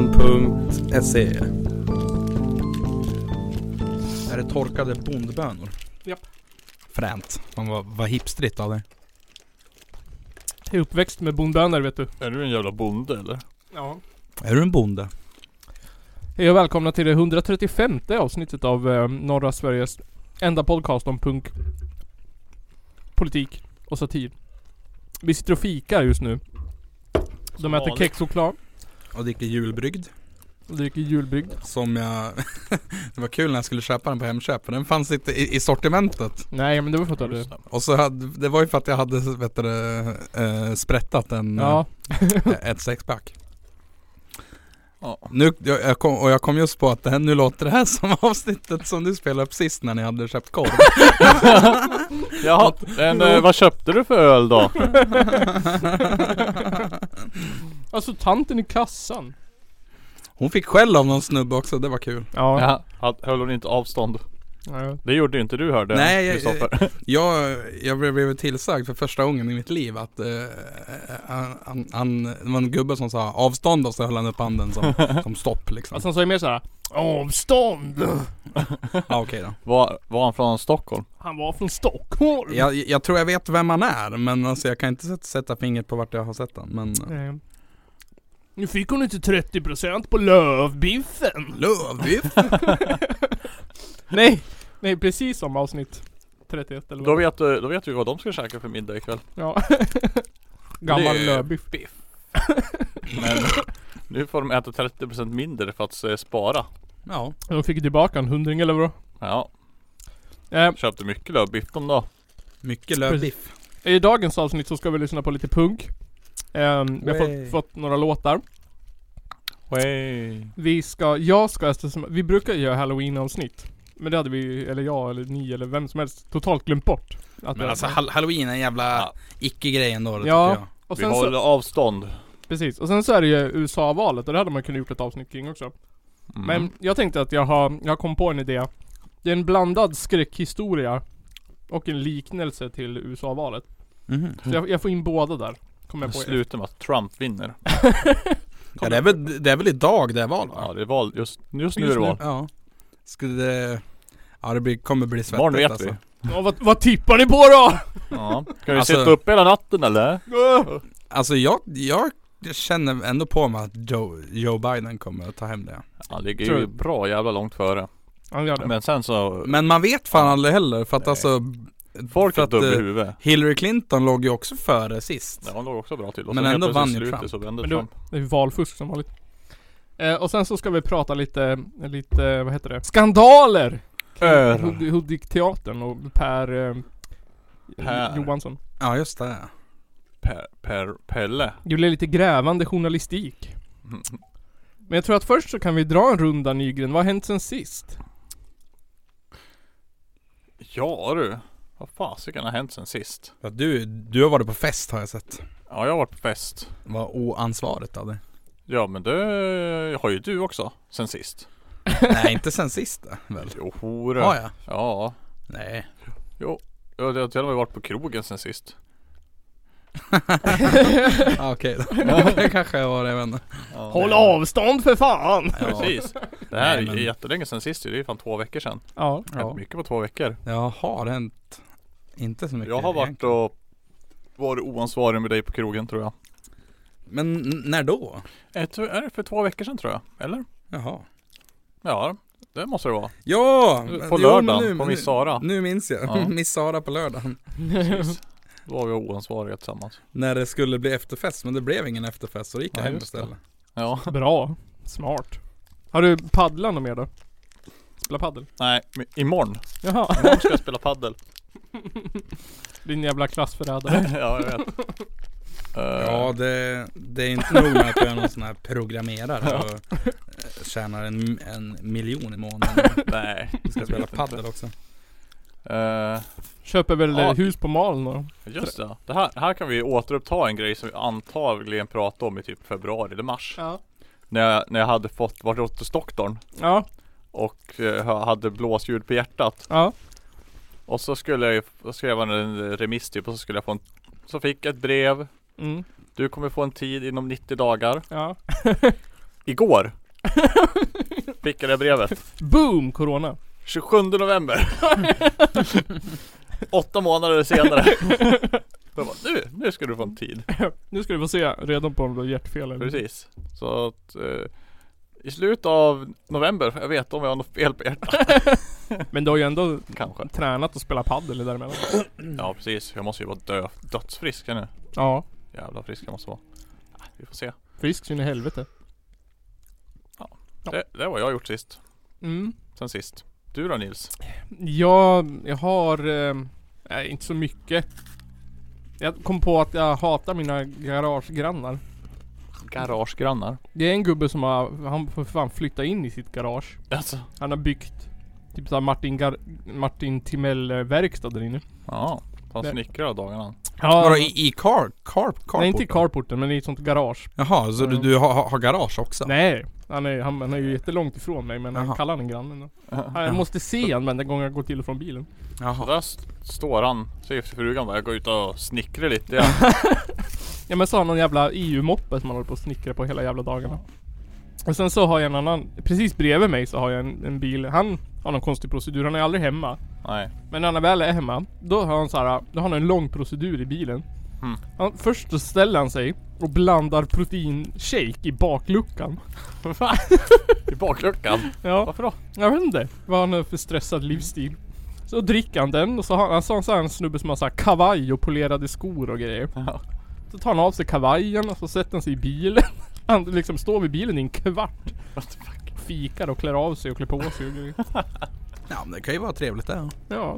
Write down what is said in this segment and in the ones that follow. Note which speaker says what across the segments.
Speaker 1: Källarpodden.se
Speaker 2: Är det torkade bondbönor?
Speaker 3: Japp.
Speaker 2: Fränt. Fan vad, vad hipstrigt av dig.
Speaker 3: Jag är uppväxt med bondbönor vet du.
Speaker 4: Är du en jävla bonde eller?
Speaker 3: Ja.
Speaker 2: Är du en bonde?
Speaker 3: Hej och välkomna till det 135 avsnittet av eh, norra Sveriges enda podcast om punk, politik och satir. Vi sitter och fikar just nu. De äter kexchoklad
Speaker 2: Och dricker julbrygd.
Speaker 3: och dricker julbrygd.
Speaker 2: Som jag... det var kul när jag skulle köpa den på Hemköp. För den fanns inte i, i sortimentet.
Speaker 3: Nej men det var för att du hade...
Speaker 2: Och så hade, det var ju för att jag hade vet du, det, eh, sprättat en,
Speaker 3: Ja.
Speaker 2: eh, ett sexpack.
Speaker 4: Ja.
Speaker 2: Nu, jag, jag kom, och jag kom just på att det här, nu låter det här som avsnittet som du spelade upp sist när ni hade köpt korv.
Speaker 4: Jaha, men eh, vad köpte du för öl då?
Speaker 3: Alltså tanten i kassan.
Speaker 2: Hon fick skäll av någon snubbe också, det var kul.
Speaker 3: Ja.
Speaker 4: Ja. Hade- Höll hon inte avstånd?
Speaker 3: ja.
Speaker 4: Det gjorde ju inte du hörde
Speaker 2: Nej, jag-
Speaker 4: Kristoffer.
Speaker 2: Jag, jag blev, blev tillsagd för första gången i mitt liv att eh, han, han, han, det var en gubbe som sa avstånd och så höll han upp handen som, som stopp liksom.
Speaker 3: Alltså han sa ju mer såhär Avstånd!
Speaker 2: ja, okej då.
Speaker 4: Var, var han från Stockholm?
Speaker 3: Han var från Stockholm!
Speaker 2: Jag, jag tror jag vet vem han är men alltså, jag kan inte sätta, sätta fingret på vart jag har sett han. Men eh.
Speaker 3: Nej. Nu fick hon inte 30% på lövbiffen!
Speaker 2: Lövbiff!
Speaker 3: Nej! Nej, precis som avsnitt 31 eller
Speaker 4: Då
Speaker 3: vad
Speaker 4: vet, du, då vet du vad de ska käka för middag ikväll.
Speaker 3: Ja. Gammal
Speaker 2: Det-
Speaker 3: lövbiff.
Speaker 4: Men nu får de äta 30% mindre för att eh, spara.
Speaker 2: Ja,
Speaker 3: De fick tillbaka en hundring eller vad?
Speaker 4: Ja,
Speaker 3: Eh,
Speaker 4: köpte mycket lövbiff de då.
Speaker 2: mycket lövbiff.
Speaker 3: I dagens avsnitt så ska vi lyssna på lite punk. Eh, vi har
Speaker 2: Way.
Speaker 3: fått, fått några låtar. Vi ska, jag ska eftersom, vi brukar göra halloween-avsnitt. Men det hade vi, eller jag eller ni eller vem som helst, totalt glömt bort. Att
Speaker 2: Men
Speaker 3: det-
Speaker 2: alltså hall- halloween är en jävla
Speaker 4: Ja.
Speaker 2: icke-grej ändå det
Speaker 3: Ja.
Speaker 2: tycker jag.
Speaker 3: och
Speaker 4: Vi
Speaker 3: sen så,
Speaker 4: håller avstånd.
Speaker 3: precis. Och sen så är det ju USA-valet och det hade man kunnat gjort ett avsnitt kring också.
Speaker 4: Mm.
Speaker 3: Men jag tänkte att jag har, jag kom på en idé. Det är en blandad skräckhistoria och en liknelse till USA-valet.
Speaker 2: Mhm.
Speaker 4: Mm.
Speaker 3: Så jag, jag får in båda där. Kommer jag på.
Speaker 4: Slutar med att Trump vinner.
Speaker 2: Ja, det, är väl, det är väl idag det är val va?
Speaker 4: Ja, det är val. Just, just nu är det val.
Speaker 2: Ja. Skulle det... Ja det blir, kommer bli svettigt
Speaker 4: Imorgon vet
Speaker 2: alltså.
Speaker 4: vi.
Speaker 3: Ja, vad, vad tippar ni på då?
Speaker 4: Ja. Ska vi
Speaker 2: Alltså-
Speaker 4: sitta uppe hela natten eller?
Speaker 2: Alltså jag, jag känner ändå på mig att Joe, Joe Biden kommer att ta hem det.
Speaker 4: Han ligger
Speaker 3: Tror
Speaker 4: ju
Speaker 3: du?
Speaker 4: bra jävla långt före.
Speaker 3: Han gör det.
Speaker 4: Men sen så...
Speaker 2: Men man vet fan aldrig heller för att
Speaker 4: Nej.
Speaker 2: alltså
Speaker 4: Folk
Speaker 2: Mm. för
Speaker 4: är
Speaker 2: att,
Speaker 4: dumma i
Speaker 2: eh,
Speaker 4: huvudet.
Speaker 2: Hillary Clinton låg ju också före sist.
Speaker 4: Ja, han låg också bra till. Och
Speaker 2: men
Speaker 4: sen helt
Speaker 2: ändå
Speaker 4: plötsligt
Speaker 2: vann ju
Speaker 4: i slutet
Speaker 2: Trump.
Speaker 4: Så vände
Speaker 3: Men då-
Speaker 4: Trump.
Speaker 3: Det är valfusk som vanligt. Eh, och sen så ska vi prata lite, lite, vad heter det? Skandaler!
Speaker 4: Öl.
Speaker 3: Hud- Hudik-teatern och Per, eh,
Speaker 4: Per.
Speaker 3: Johansson.
Speaker 2: Ja just det.
Speaker 4: Per, per, Pelle.
Speaker 3: Det blir lite grävande journalistik.
Speaker 4: Mm.
Speaker 3: Men jag tror att först så kan vi dra en runda Nygren. Vad har hänt sen sist?
Speaker 4: Ja du. Vad fasiken har hänt sen sist?
Speaker 2: Ja, du, du har varit på fest har jag sett.
Speaker 4: Ja, jag har varit på fest.
Speaker 2: Vad oansvarigt av dig.
Speaker 4: Ja, men det har ju du också. Sen sist.
Speaker 2: Nej inte sen sist eh, väl?
Speaker 4: Jo, hora.
Speaker 2: Har jag?
Speaker 4: Ja.
Speaker 2: Nej.
Speaker 4: Jag har till och med varit på krogen sen sist.
Speaker 2: Ja, Ah, Okej då. Det kanske jag var det, jag vet inte.
Speaker 4: Ja,
Speaker 3: Håll
Speaker 4: det-
Speaker 3: avstånd för fan!
Speaker 2: Ja.
Speaker 4: Precis. Det här
Speaker 2: Nej,
Speaker 4: är
Speaker 2: men-
Speaker 4: jättelänge sen sist ju. Det är fan två veckor sedan.
Speaker 3: Ja.
Speaker 4: Ja. Hänt mycket på två veckor.
Speaker 2: Jag har hänt inte så mycket.
Speaker 4: Jag har varit
Speaker 2: egentligen.
Speaker 4: och varit oansvarig med dig på krogen tror jag.
Speaker 2: Men n- när då?
Speaker 4: Är det- Är det för två veckor sedan tror jag? Eller?
Speaker 2: Jaha.
Speaker 4: Ja, det måste det vara.
Speaker 2: Ja! men-
Speaker 4: På
Speaker 2: jo, men
Speaker 4: lördagen, på Miss Sara.
Speaker 2: Nu, nu minns jag.
Speaker 4: Ja.
Speaker 2: Miss Sara på lördagen.
Speaker 4: Precis. Då var vi oansvariga tillsammans.
Speaker 2: När det skulle bli efterfest, men det blev ingen efterfest så det gick jag
Speaker 4: Nej,
Speaker 2: hem
Speaker 4: just det.
Speaker 2: istället.
Speaker 4: Ja.
Speaker 3: Bra. Smart. Har du paddlat något mer då? Spela paddel?
Speaker 4: Nej, men imorgon.
Speaker 3: Jaha.
Speaker 4: Imorgon ska jag spela paddel.
Speaker 3: Din jävla klassförrädare.
Speaker 4: ja, jag vet. Eh,
Speaker 2: Ja, det, det är inte nog med att jag är någon sån här programmerare och eh, tjänar en, en miljon i månaden.
Speaker 4: Nej.
Speaker 2: Jag ska
Speaker 4: jag
Speaker 2: spela
Speaker 4: vet
Speaker 2: padel
Speaker 4: inte.
Speaker 2: också.
Speaker 4: Eh,
Speaker 3: Köper väl eh,
Speaker 4: Ja.
Speaker 3: hus på Malen och...
Speaker 4: just det. det här, här kan vi återuppta en grej som vi antagligen pratade om i typ februari eller mars.
Speaker 3: Ja.
Speaker 4: När, jag, när jag hade fått, varit hos doktorn
Speaker 3: Ja.
Speaker 4: och eh, hade blåsljud på hjärtat.
Speaker 3: Ja.
Speaker 4: Och så skulle jag ju, då skrev han en remiss typ och så skulle jag få en Så fick ett brev.
Speaker 3: Mm.
Speaker 4: Du kommer få en tid inom 90 dagar.
Speaker 3: Ja.
Speaker 4: Igår. Fick jag det brevet.
Speaker 3: Boom! Corona.
Speaker 4: 27 november. Åtta månader senare. Jag bara, nu, nu ska du få en tid.
Speaker 3: Nu ska du få se redan på om du har hjärtfel eller
Speaker 4: Precis. Så att eh, i slutet av november, jag vet om jag har något fel på hjärtat
Speaker 3: Men du har ju ändå
Speaker 4: kanske.
Speaker 3: tränat och spelat padel däremellan.
Speaker 4: Ja precis, jag måste ju vara dö, dödsfrisk här nu.
Speaker 3: Ja.
Speaker 4: Jävla frisk jag måste vara. Ah, Vi får se.
Speaker 3: Frisk så in i helvete. Ja.
Speaker 4: Det, det var jag har gjort sist.
Speaker 3: Mm.
Speaker 4: Sen sist. Du då Nils?
Speaker 3: Ja, jag har... Eh, nej, inte så mycket. Jag kom på att jag hatar mina garagegrannar.
Speaker 4: Garagegrannar.
Speaker 3: Det är en gubbe som har... Han får fan flytta in i sitt garage.
Speaker 4: Alltså.
Speaker 3: Han har byggt typ såhär Martin, Gar- Martin Timell eh, verkstad där inne.
Speaker 4: Ja. Han
Speaker 3: Det-
Speaker 4: snickrar av dagarna.
Speaker 3: Ja,
Speaker 2: Vadå i, i car, car, carporten?
Speaker 3: Nej inte i carporten men i ett sånt garage.
Speaker 2: Jaha, så du, du har, har- har garage också?
Speaker 3: Nej. Han är, han, han är ju jättelångt ifrån mig men han
Speaker 2: Jaha.
Speaker 3: kallar den grannen då.
Speaker 4: Ja.
Speaker 3: Jag måste se honom varenda gång jag går till och från bilen.
Speaker 4: Så
Speaker 2: Jaha.
Speaker 4: där st- står han. Säger till frugan bara, jag går ut och snickrar lite. Ja.
Speaker 3: Ja men så har han någon jävla EU-moppe som han håller på att snickra på hela jävla dagarna. Och sen så har jag en annan, precis bredvid mig så har jag en, en bil. Han har någon konstig procedur, han är aldrig hemma.
Speaker 4: Nej.
Speaker 3: Men när han väl är hemma, då har han så här, då har han en lång procedur i bilen.
Speaker 4: Mm.
Speaker 3: Han, först så ställer han sig och blandar proteinshake i bakluckan.
Speaker 4: Va? I bakluckan?
Speaker 3: Ja,
Speaker 4: Varför då?
Speaker 3: jag vet inte vad han har för stressad livsstil. Så dricker han den och så har han, så har han så här en snubbe som har så här kavaj och polerade skor och grejer.
Speaker 4: Ja.
Speaker 3: Så tar han av sig kavajen och så sätter han sig i bilen. Han liksom står vid bilen i en kvart.
Speaker 4: What the fuck?
Speaker 3: Fikar och klär av sig och klär på sig och grejer.
Speaker 2: Ja men det kan ju vara trevligt det.
Speaker 3: Ja.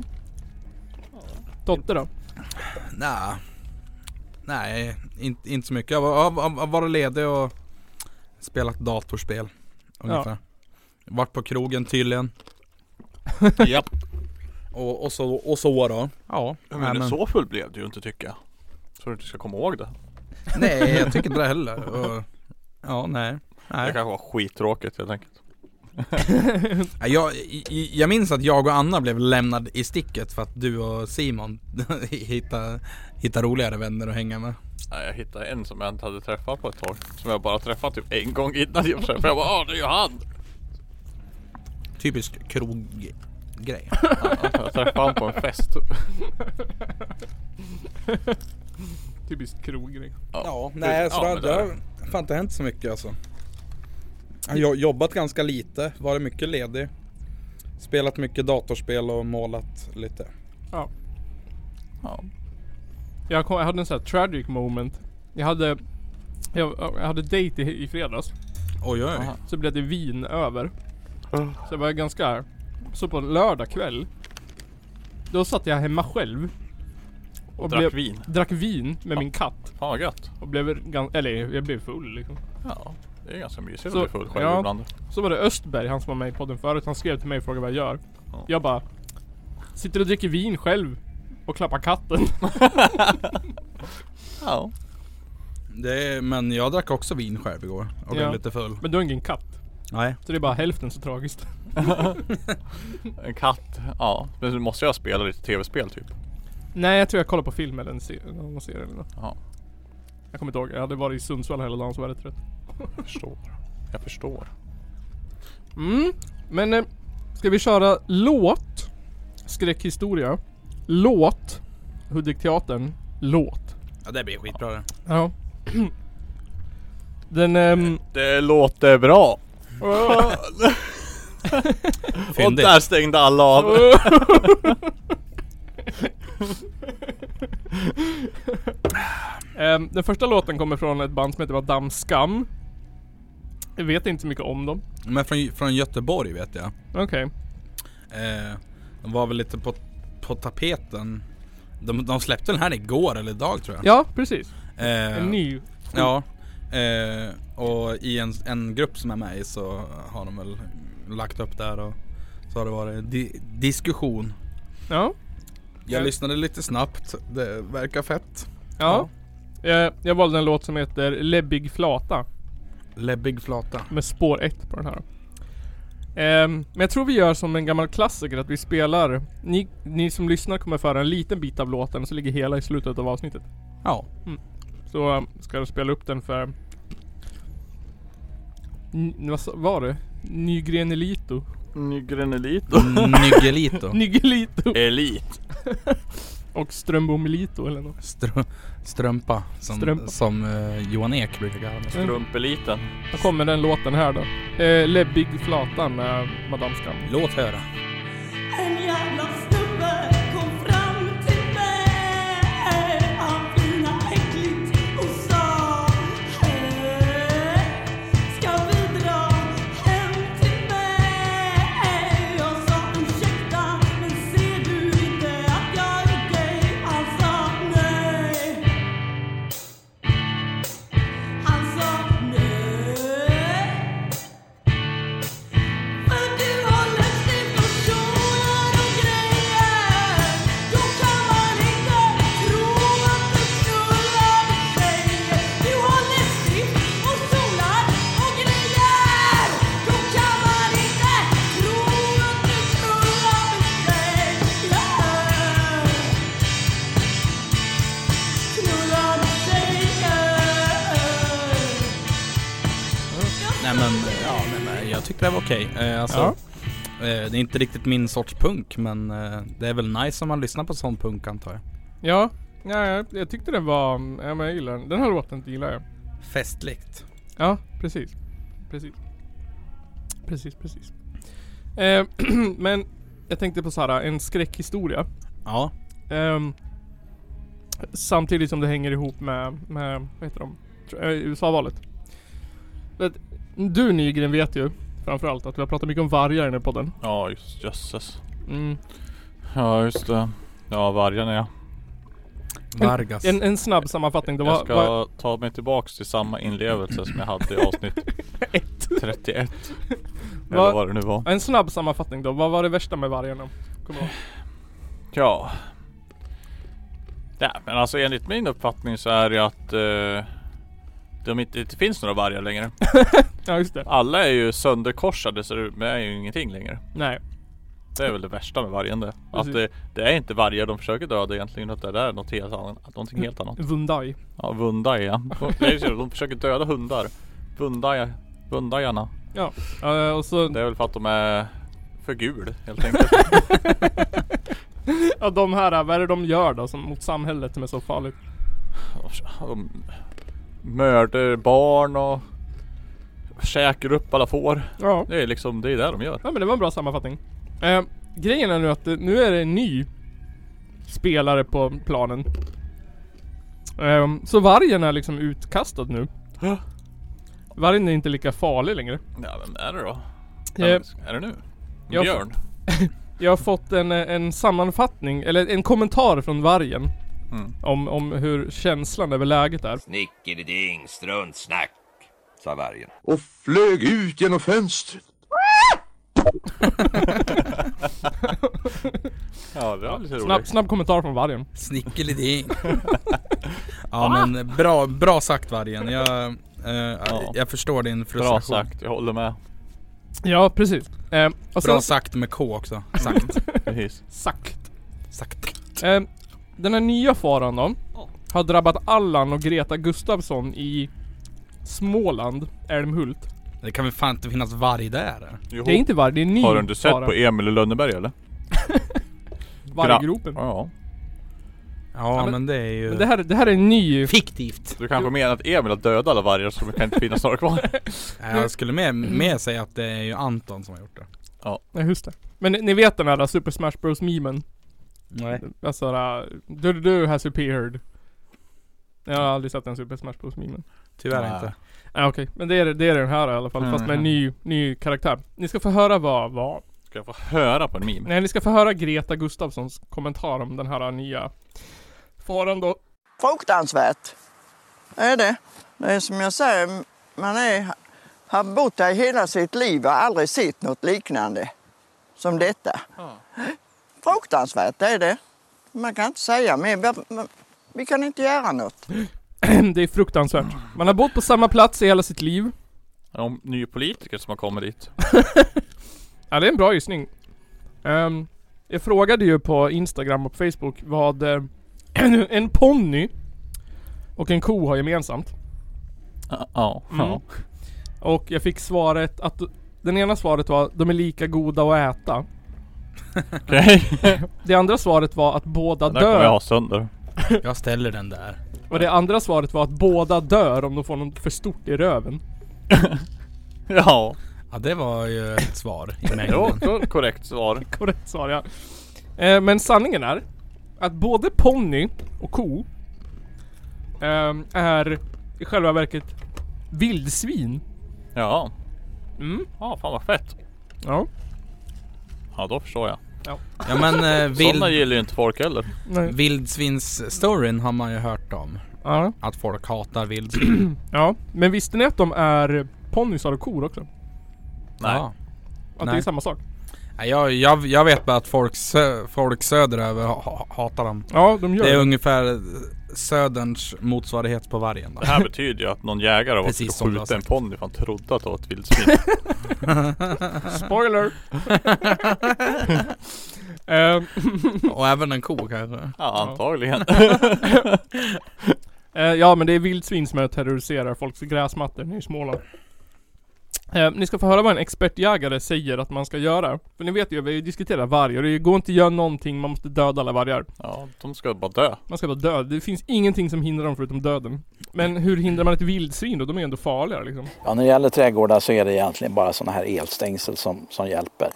Speaker 3: Dotter då?
Speaker 2: Nej. Nej, inte, inte så mycket. Jag har var, var, varit ledig och spelat datorspel. Ungefär. Vart på krogen tydligen.
Speaker 4: Japp.
Speaker 2: Och, och, så, och så då. Ja.
Speaker 4: Men,
Speaker 2: nej,
Speaker 4: så full blev du ju inte tycker jag. Så du inte ska komma ihåg det.
Speaker 2: nej jag tycker inte det heller. Och, ja, nej.
Speaker 4: Det
Speaker 2: nej.
Speaker 4: kanske var skittråkigt helt enkelt.
Speaker 2: Jag, i- jag minns att jag och Anna blev lämnade i sticket för att du och Simon hittade, hittade roligare vänner att hänga med.
Speaker 4: Nej, jag hittade en som jag inte hade träffat på ett tag. Som jag bara träffat typ en gång innan jag träffade. Jag bara Åh, det är ju han!
Speaker 2: Typisk kroggrej.
Speaker 4: Jag träffade honom på en fest.
Speaker 3: Typiskt kroggrej.
Speaker 2: Ja, nej så
Speaker 4: men
Speaker 2: det, det har fan inte hänt så mycket alltså. Jag har jobbat ganska lite, varit mycket ledig. Spelat mycket datorspel och målat lite.
Speaker 3: Ja.
Speaker 4: Ja.
Speaker 3: Jag, kom, jag hade en sån här tragic moment. Jag hade... Jag, jag hade dejt i, i fredags.
Speaker 2: Oj oj.
Speaker 4: Aha.
Speaker 3: Så blev det vin över.
Speaker 4: Mm.
Speaker 3: Så jag var ganska... Så på lördag kväll. Då satt jag hemma själv. Och,
Speaker 4: Drack
Speaker 3: blev,
Speaker 4: vin.
Speaker 3: drack vin med
Speaker 4: Ja.
Speaker 3: min katt.
Speaker 4: Fan vad gött.
Speaker 3: Och blev ganska, eller jag blev full liksom.
Speaker 4: Ja. Det är ganska mysigt
Speaker 3: Så-
Speaker 4: att bli full själv
Speaker 3: ja.
Speaker 4: ibland.
Speaker 3: Så var det Östberg, han som var med i podden förut, han skrev till mig och frågade vad jag gör.
Speaker 4: Ja.
Speaker 3: Jag bara Sitter och dricker vin själv och klappar katten.
Speaker 4: Ja.
Speaker 2: Det är, men jag drack också vin själv igår och blev
Speaker 3: Ja.
Speaker 2: lite full.
Speaker 3: Men du har ingen katt.
Speaker 2: Nej.
Speaker 3: Så det är bara hälften så tragiskt.
Speaker 4: En katt. Ja. Men nu måste jag spela lite tv-spel typ.
Speaker 3: Nej jag tror jag kollar på film eller en se- någon serie eller något.
Speaker 4: Ja.
Speaker 3: Jag kommer inte ihåg, jag hade varit i Sundsvall hela dagen så var jag rätt trött.
Speaker 4: Jag förstår. Jag förstår.
Speaker 3: Mm. Men eh, ska vi köra låt? Skräckhistoria. Låt. Hudikteatern. Låt.
Speaker 2: Ja det blir skitbra det.
Speaker 3: Ja. Den ehm...
Speaker 4: Det låter bra. Och
Speaker 2: Fyndigt.
Speaker 4: där stängde alla av.
Speaker 3: Ehm, den första låten kommer från ett band som heter bara Damm Skam. Jag vet inte så mycket om dem.
Speaker 2: Men från, från Göteborg vet jag.
Speaker 3: Okej.
Speaker 2: Eh, de var väl lite på, på tapeten. De, de släppte den här igår eller idag tror jag.
Speaker 3: Ja, precis.
Speaker 2: Eh,
Speaker 3: En ny.
Speaker 2: Ja. Eh, och i en, en grupp som är med i så har de väl lagt upp där och så har det varit di- diskussion.
Speaker 3: Ja.
Speaker 2: Jag
Speaker 3: Ja.
Speaker 2: lyssnade lite snabbt, det verkar fett.
Speaker 3: Ja. Eh, jag valde en låt som heter Läbbig flata.
Speaker 2: Läbbig flata.
Speaker 3: Med spår 1 på den här. Ehm, men jag tror vi gör som en gammal klassiker att vi spelar. Ni, ni som lyssnar kommer föra en liten bit av låten och så ligger hela i slutet av avsnittet.
Speaker 2: Ja.
Speaker 3: Så um, ska de spela upp den för... N- vad sa- var det? Nygrenelito?
Speaker 4: Nygren Elit.
Speaker 2: Nygelito.
Speaker 3: Nygelito!
Speaker 4: Elit.
Speaker 3: Och Strömbomelito eller något.
Speaker 2: Str- strumpa. Som,
Speaker 3: Strumpa.
Speaker 2: som eh, Johan Ek brukar kalla det.
Speaker 3: Mm.
Speaker 4: Strumpeliten.
Speaker 3: Då kommer den låten här då. Eh, Läbbig flatan med Madame Skam.
Speaker 2: Låt höra.
Speaker 1: En jävla snubbe kom fram till mig Han flinade äckligt och sa Hej, ska vi dra hem till mig? Jag sa ursäkta, men ser du inte att jag är gay? Han sa nej Han sa nej för du håller still och tjoar om grejer Då kan man inte tro att du knullar tjejer Du håller still och tjoar om grejer Då kan man inte tro att du knullar tjejer Knullar tjejer
Speaker 2: Nej men, ja, nej, men jag tyckte det var okej. Eh, alltså,
Speaker 3: Ja.
Speaker 2: eh, det är inte riktigt min sorts punk men eh, det är väl nice om man lyssnar på sån punk antar jag.
Speaker 3: Ja, ja jag, jag tyckte den var... Ja, men jag gillar den. Den här låten gillar jag.
Speaker 2: Festligt.
Speaker 3: Ja, precis. Precis. Precis, precis. Eh, men jag tänkte på så här, en skräckhistoria.
Speaker 2: Ja.
Speaker 3: Ehm, samtidigt som det hänger ihop med, med vad heter de? Tr- eh, USA-valet. Vet- Du Nygren vet ju framförallt att vi har pratat mycket om vargar i den här podden.
Speaker 4: Ja just jösses.
Speaker 3: Mm.
Speaker 4: Ja just det. Ja vargarna ja.
Speaker 2: Vargas.
Speaker 3: En, en snabb sammanfattning. Det var,
Speaker 4: Jag ska ta mig tillbaks till samma inlevelse som jag hade i avsnitt
Speaker 3: ett.
Speaker 4: 31.
Speaker 3: Va-
Speaker 4: Eller vad det nu var.
Speaker 3: En snabb sammanfattning då. Vad var det värsta med vargarna? Kommer du ihåg?
Speaker 4: Ja. Ja men alltså enligt min uppfattning så är det att eh, de inte, det inte finns några vargar längre.
Speaker 3: Ja just det.
Speaker 4: Alla är ju sönderkorsade så det är ju ingenting längre.
Speaker 3: Nej.
Speaker 4: Det är väl det värsta med vargen det. Att
Speaker 3: Precis.
Speaker 4: det, det är inte vargar de försöker döda egentligen. Utan det är något helt annat. Någonting helt annat.
Speaker 3: Vundai.
Speaker 4: Ja, vundar ja. Det är ju så, De försöker döda hundar. Vundar, vundarna.
Speaker 3: Eh, och så
Speaker 4: Det är väl för att de är för gul helt enkelt.
Speaker 3: Ja de här, vad är det de gör då som, mot samhället som är så farligt?
Speaker 4: De mördar barn och käkar upp alla får.
Speaker 3: Ja.
Speaker 4: Det är liksom, det är det de gör.
Speaker 3: Ja men det var en bra sammanfattning. Eh, grejen är nu att det, nu är det en ny spelare på planen. Ehm, så vargen är liksom utkastad nu.
Speaker 4: Ja.
Speaker 3: Vargen är inte lika farlig längre.
Speaker 4: Ja, vem är det då?
Speaker 3: Eh,
Speaker 4: Vem Är det nu?
Speaker 3: jag-
Speaker 4: Björn?
Speaker 3: jag har fått en, eh, en sammanfattning, eller en kommentar från vargen.
Speaker 4: Mm.
Speaker 3: Om, om hur känslan över läget är.
Speaker 5: Snickeliding, struntsnack, sa vargen.
Speaker 6: och flög ut genom fönstret.
Speaker 4: Ja, det var lite
Speaker 3: Snabb,
Speaker 4: roligt.
Speaker 3: snabb kommentar från vargen.
Speaker 2: Snickeliding. ja men bra, bra sagt Vargen. Jag, eh, jag förstår din
Speaker 4: Bra
Speaker 2: frustration.
Speaker 4: sagt, jag håller med.
Speaker 3: Ja precis. Ehm, och
Speaker 2: Bra
Speaker 3: sen,
Speaker 2: sagt med K också. Sagt.
Speaker 4: Precis.
Speaker 3: sagt.
Speaker 2: sagt.
Speaker 3: Ehm, Den här nya faran då Har drabbat Allan och Greta Gustafsson i Småland, Älmhult
Speaker 2: Det kan väl fan inte finnas varg där? eller?
Speaker 4: Jo.
Speaker 3: Det är inte varg, det är en ny
Speaker 4: Har du inte sett
Speaker 3: fara.
Speaker 4: på Emil i Lönneberg eller?
Speaker 3: Varggropen
Speaker 4: Ja.
Speaker 2: Ja,
Speaker 3: men-
Speaker 2: men, det är ju...
Speaker 3: Men det här, det här är en ny...
Speaker 2: Fiktivt!
Speaker 4: Du kanske menar att Emil har dödat alla vargar så det kan inte finnas några kvar?
Speaker 2: Nej, Jag skulle mer, mer säga att det är ju Anton som har gjort det.
Speaker 3: Nej just det Men ni- ni vet den här Super Smash Bros memen?
Speaker 2: Nej.
Speaker 3: Alltså där, du du- du has appeared Jag har aldrig sett den Super Smash Bros memen
Speaker 2: Tyvärr
Speaker 4: Nej.
Speaker 2: inte.
Speaker 3: ah, okej, men det är, det är den här i alla fall fast med en ny, ny karaktär Ni ska få höra vad, vad
Speaker 4: Ska jag få höra på en meme?
Speaker 3: Nej, ni ska få höra Greta Gustafssons kommentar om den här nya faran då.
Speaker 7: fruktansvärt. Det är det. Det är som jag säger, man är, har bott här hela sitt liv och aldrig sett något liknande som detta. Fruktansvärt, det är det. Man kan inte säga mer. Vi- vi- Vi kan inte göra något.
Speaker 3: det är fruktansvärt. Man har bott på samma plats i hela sitt liv.
Speaker 4: Om ny politiker som har kommit dit.
Speaker 3: Ja, det är en bra gissning. Ehm, jag frågade ju på Instagram och på Facebook vad eh, en ponny och en ko har gemensamt.
Speaker 4: Ja, ja.
Speaker 3: Mm. Och jag fick svaret att den ena svaret var de är lika goda att äta.
Speaker 4: Okej.
Speaker 3: Det andra svaret var att båda
Speaker 4: Den där kommer jag
Speaker 3: dör.
Speaker 4: ha sönder.
Speaker 2: Jag ställer den där.
Speaker 3: Och det andra svaret var att båda dör om de får något för stort i röven.
Speaker 4: Ja.
Speaker 2: Ja det var ju ett svar i
Speaker 4: Det var
Speaker 2: mängden.
Speaker 4: också ett korrekt svar.
Speaker 3: Korrekt svar ja. Eh, men sanningen är att både ponny och ko ehm, är i själva verket vildsvin.
Speaker 4: Ja.
Speaker 3: Mm.
Speaker 4: Ja, fan vad fett.
Speaker 3: Ja.
Speaker 4: Ja, då förstår jag.
Speaker 2: Ja men eh,
Speaker 4: Sådana
Speaker 2: vild,
Speaker 4: gillar ju inte folk heller.
Speaker 3: Nej.
Speaker 2: vildsvins-storyn har man ju hört om.
Speaker 3: Ja.
Speaker 2: Att folk hatar vildsvin.
Speaker 3: ja. Men visste ni att de är ponnysar och kor också?
Speaker 4: Nej.
Speaker 2: Ja.
Speaker 3: Att det är
Speaker 2: Nej.
Speaker 3: samma sak?
Speaker 2: Nej, Jag, jag, jag vet bara att folk, sö, folk söderöver ha- ha, hatar dem.
Speaker 3: Ja, de gör
Speaker 2: Det är
Speaker 3: det.
Speaker 2: ungefär söderns motsvarighet på vargen då.
Speaker 4: Det här betyder ju att någon jägare har
Speaker 2: Precis
Speaker 4: varit
Speaker 2: som du har
Speaker 4: skjuta en
Speaker 2: sagt.
Speaker 4: ponny för han trodde att det var ett vildsvin.
Speaker 3: Spoiler! Ehm,
Speaker 2: Och även en ko kanske.
Speaker 4: Ja, antagligen.
Speaker 3: Eh, ja men det är vildsvin som terroriserar folks gräsmattor nere i Småland. Eh, ni ska få höra vad en expertjägare säger att man ska göra. För ni vet ju, vi har ju diskuterat varg och det går inte att göra någonting, man måste döda alla vargar.
Speaker 4: Ja, de ska bara dö.
Speaker 3: Man ska vara död. Det finns ingenting som hindrar dem förutom döden. Men hur hindrar man ett vildsvin då? De är ju ändå farligare liksom.
Speaker 8: Ja, när det gäller trädgårdar så är det egentligen bara sådana här elstängsel som, som hjälper.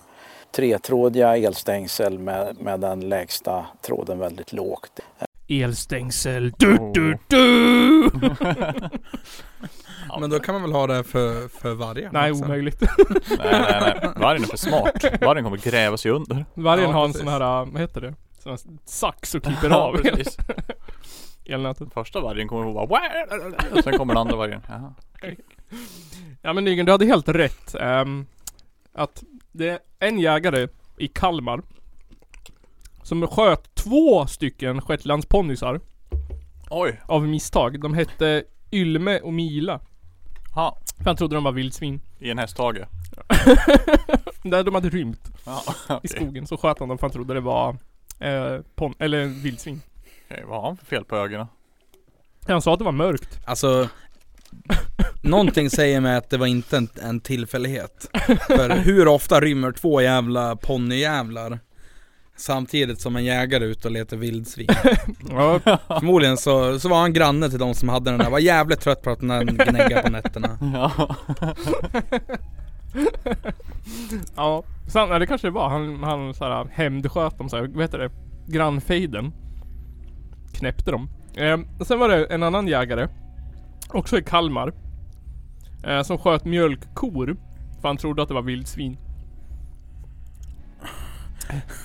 Speaker 8: Tretrådiga elstängsel med, med den lägsta tråden väldigt lågt.
Speaker 3: Elstängsel. Du,
Speaker 4: Oh.
Speaker 3: du, du.
Speaker 2: Men då kan man väl ha det för, för vargen
Speaker 3: Nej,
Speaker 2: också?
Speaker 3: omöjligt.
Speaker 4: Nej, nej, nej. Vargen är för smart. Vargen kommer gräva sig under.
Speaker 3: Vargen
Speaker 2: Ja,
Speaker 3: har en
Speaker 2: precis.
Speaker 3: sån här, eh, vad heter det? Sån här sax och klipper av hela
Speaker 4: precis.
Speaker 3: elnätet.
Speaker 4: Första vargen kommer att bara... Sen kommer den andra vargen. Jaha.
Speaker 3: Ja men Nygren, du hade helt rätt. ehm, att det är en jägare i Kalmar som sköt två stycken shetlandsponnysar
Speaker 4: Oj.
Speaker 3: av misstag. De hette Ylme och Mila.
Speaker 4: Ja.
Speaker 3: För han trodde de var vildsvin.
Speaker 4: I en hästhage.
Speaker 3: Där de hade rymt
Speaker 4: Ja,
Speaker 3: i
Speaker 4: okej.
Speaker 3: skogen. Så sköt han dem för han trodde det var eh, pon- eller vildsvin.
Speaker 4: Okej, Vad har han för fel på ögonen?
Speaker 3: Han sa att det var mörkt.
Speaker 2: Alltså Någonting säger mig att det var inte en, en tillfällighet För hur ofta rymmer två jävla ponnyjävlar Samtidigt som en jägare är ute och letar vildsvin
Speaker 3: Ja,
Speaker 2: Förmodligen så, så var han granne till de som hade den där, var jävligt trött på att den gnäggar på nätterna
Speaker 4: Ja.
Speaker 3: ja. Sen, eller kanske det var. Han, han så här, hämndsköt dem så här, vad heter det? Grannfejden. Knäppte dem. Eh, sen var det en annan jägare. Också i Kalmar. Eh, som sköt mjölkkor. För han trodde att det var vildsvin.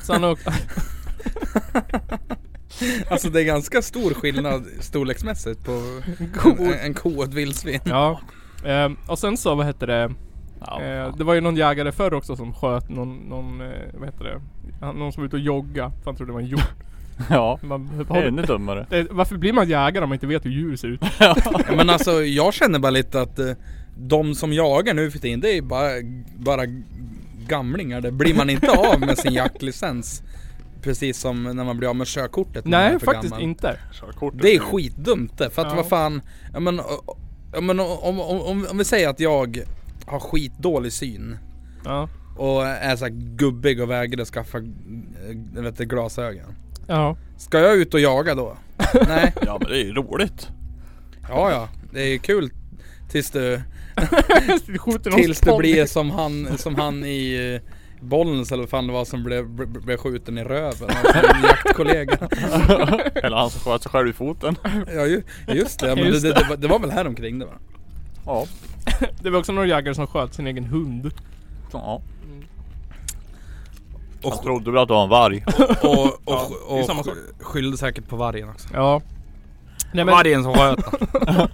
Speaker 3: Så han åkte...
Speaker 2: Alltså det är ganska stor skillnad storleksmässigt på en,
Speaker 3: Kor.
Speaker 2: en, en ko och ett vildsvin
Speaker 3: ja. Eh, och sen så, vad hette det?
Speaker 4: Ja,
Speaker 3: Eh,
Speaker 4: fan.
Speaker 3: det var ju någon jägare förr också som sköt någon, någon eh, vad heter det? Han- Någon som var ute och jogga För han trodde det var en hjort.
Speaker 4: ja.
Speaker 3: Man-
Speaker 4: Det är ännu dummare.
Speaker 3: Eh, Varför blir man jägare om man inte vet hur djur ser ut?
Speaker 2: Ja, Men alltså jag känner bara lite att eh, de som jagar nu för tiden det är bara, bara gamlingar. Det blir man inte av med sin jaktlicens. Precis som när man blir av med körkortet. när man är
Speaker 3: Nej,
Speaker 2: för
Speaker 3: faktiskt
Speaker 2: gammal.
Speaker 3: inte.
Speaker 4: Körkortet.
Speaker 2: Det är skitdumt det. För att
Speaker 3: Ja.
Speaker 2: vad fan. Ja, men, eh, ja, men om, om, om, om vi säger att jag har skitdålig syn.
Speaker 3: Ja.
Speaker 2: Och är så här gubbig och vägrar skaffa eh, vet, du, glasögon.
Speaker 3: Ja.
Speaker 2: Ska jag ut och jaga då? Nej.
Speaker 4: Ja men det är ju roligt.
Speaker 2: Ja, ja. Det är kul tills du
Speaker 3: Du skjuter någon
Speaker 2: Tills det
Speaker 3: sponny.
Speaker 2: blir som han, som han i eh, Bollnäs eller vad fan det var som blev, blev blev skjuten i röven av sin jaktkollega.
Speaker 4: Eller han som sköt sig själv i foten.
Speaker 2: Ja ju, just det, men
Speaker 3: Just
Speaker 2: det, det, det, var, det var väl här omkring det va?
Speaker 4: Ja.
Speaker 3: Det var också någon jägare som sköt sin egen hund.
Speaker 4: ja. Och han trodde väl att det var en varg.
Speaker 2: Och, och,
Speaker 3: det är
Speaker 2: och,
Speaker 3: samma sak.
Speaker 2: skyllde säkert på vargen också.
Speaker 3: Ja. Nej men
Speaker 2: Vargen som sköt han.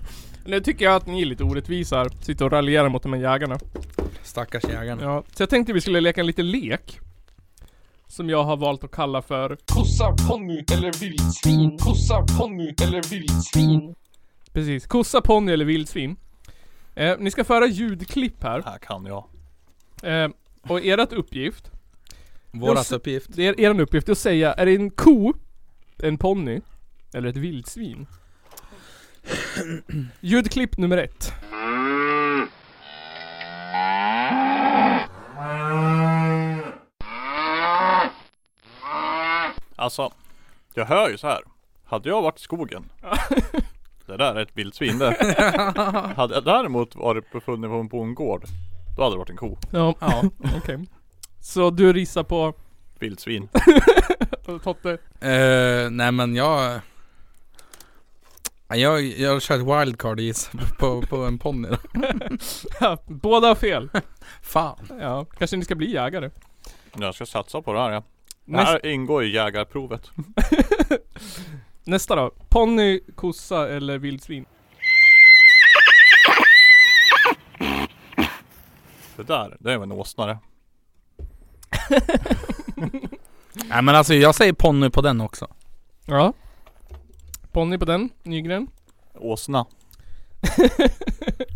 Speaker 3: nu tycker jag att ni är lite orättvisa här. Sitter och raljerar mot de här jägarna.
Speaker 2: Stackars jägaren.
Speaker 3: Ja. Så jag tänkte vi skulle leka en liten lek. Som jag har valt att kalla för
Speaker 9: Kossa, ponny eller vildsvin. Kossa, ponny eller vildsvin.
Speaker 3: Precis, kossa, ponny eller vildsvin. Eh, ni ska föra ljudklipp här.
Speaker 4: Här kan jag.
Speaker 3: Eh, och ert uppgift,
Speaker 2: Vårat
Speaker 3: Just-
Speaker 2: uppgift.
Speaker 3: det är er uppgift är att säga, är det en ko, en ponny eller ett vildsvin? Ljudklipp nummer ett.
Speaker 4: Alltså, jag hör ju så här. Hade jag varit i skogen. det där är ett vildsvin det. Hade jag däremot varit befunnen på en bondgård. Då hade det varit en ko.
Speaker 3: Ja,
Speaker 2: Ja.
Speaker 3: okej. Så du risar på
Speaker 4: Vildsvin.
Speaker 3: Totte.
Speaker 2: Eh, nej men jag... Jag, jag kör ett wildcard gissar jag, på, på en ponny då.
Speaker 3: Ja, Båda har fel.
Speaker 2: Fan.
Speaker 3: Ja, kanske ni ska bli jägare.
Speaker 4: Jag ska satsa på det här ja. Det
Speaker 3: Näst,
Speaker 4: här ingår i jägarprovet.
Speaker 3: Nästa då. Ponny, kossa eller vildsvin?
Speaker 4: Det där, det är en åsnare.
Speaker 2: Nej men alltså jag säger ponny på den också.
Speaker 3: Ja. Ponny på den, Nygren.
Speaker 4: Åsna.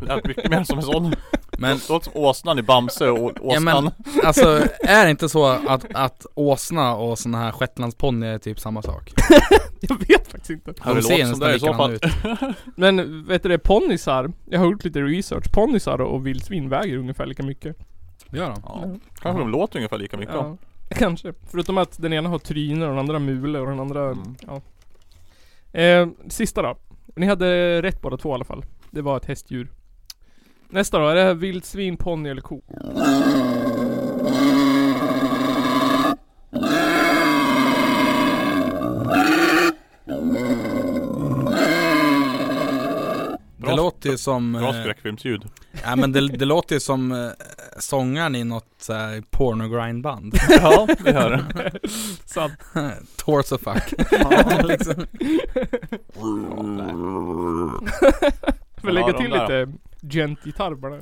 Speaker 4: Lät mycket mer som en sån.
Speaker 2: Men
Speaker 4: Det låter som åsnan i Bamse och å-
Speaker 2: Ja, men-
Speaker 4: åsnan.
Speaker 2: alltså är det inte så att, att åsna och såna här shetlandsponnyer är typ samma sak?
Speaker 3: Jag vet faktiskt inte.
Speaker 4: Ja, det
Speaker 2: De ser
Speaker 4: låter som det
Speaker 2: nästan
Speaker 4: i så
Speaker 2: likadana
Speaker 4: fall.
Speaker 2: ut.
Speaker 3: Men vet du det, ponnysar. Jag har gjort lite research. Ponnysar och vildsvin väger ungefär lika mycket.
Speaker 2: Gör de?
Speaker 4: Ja. Kanske de låter ungefär lika mycket.
Speaker 3: Ja. Kanske. Förutom att den ena har tryne och den andra mule och den andra...
Speaker 4: Mm.
Speaker 3: Ja. Eh, sista då. Ni hade rätt båda två i alla fall. Det var ett hästdjur. Nästa då. Är det här vildsvin, ponny eller ko?
Speaker 2: Det låter ju som...
Speaker 4: Bra
Speaker 2: Eh,
Speaker 4: skräckfilmsljud.
Speaker 2: nej men det, det låter ju som eh, sångaren i något så här pornogrindband.
Speaker 4: Ja, det gör det.
Speaker 3: Sant.
Speaker 2: Torso fuck. liksom.
Speaker 3: Får lägga
Speaker 4: de
Speaker 3: till
Speaker 4: där.
Speaker 3: lite gent-gitarr bara.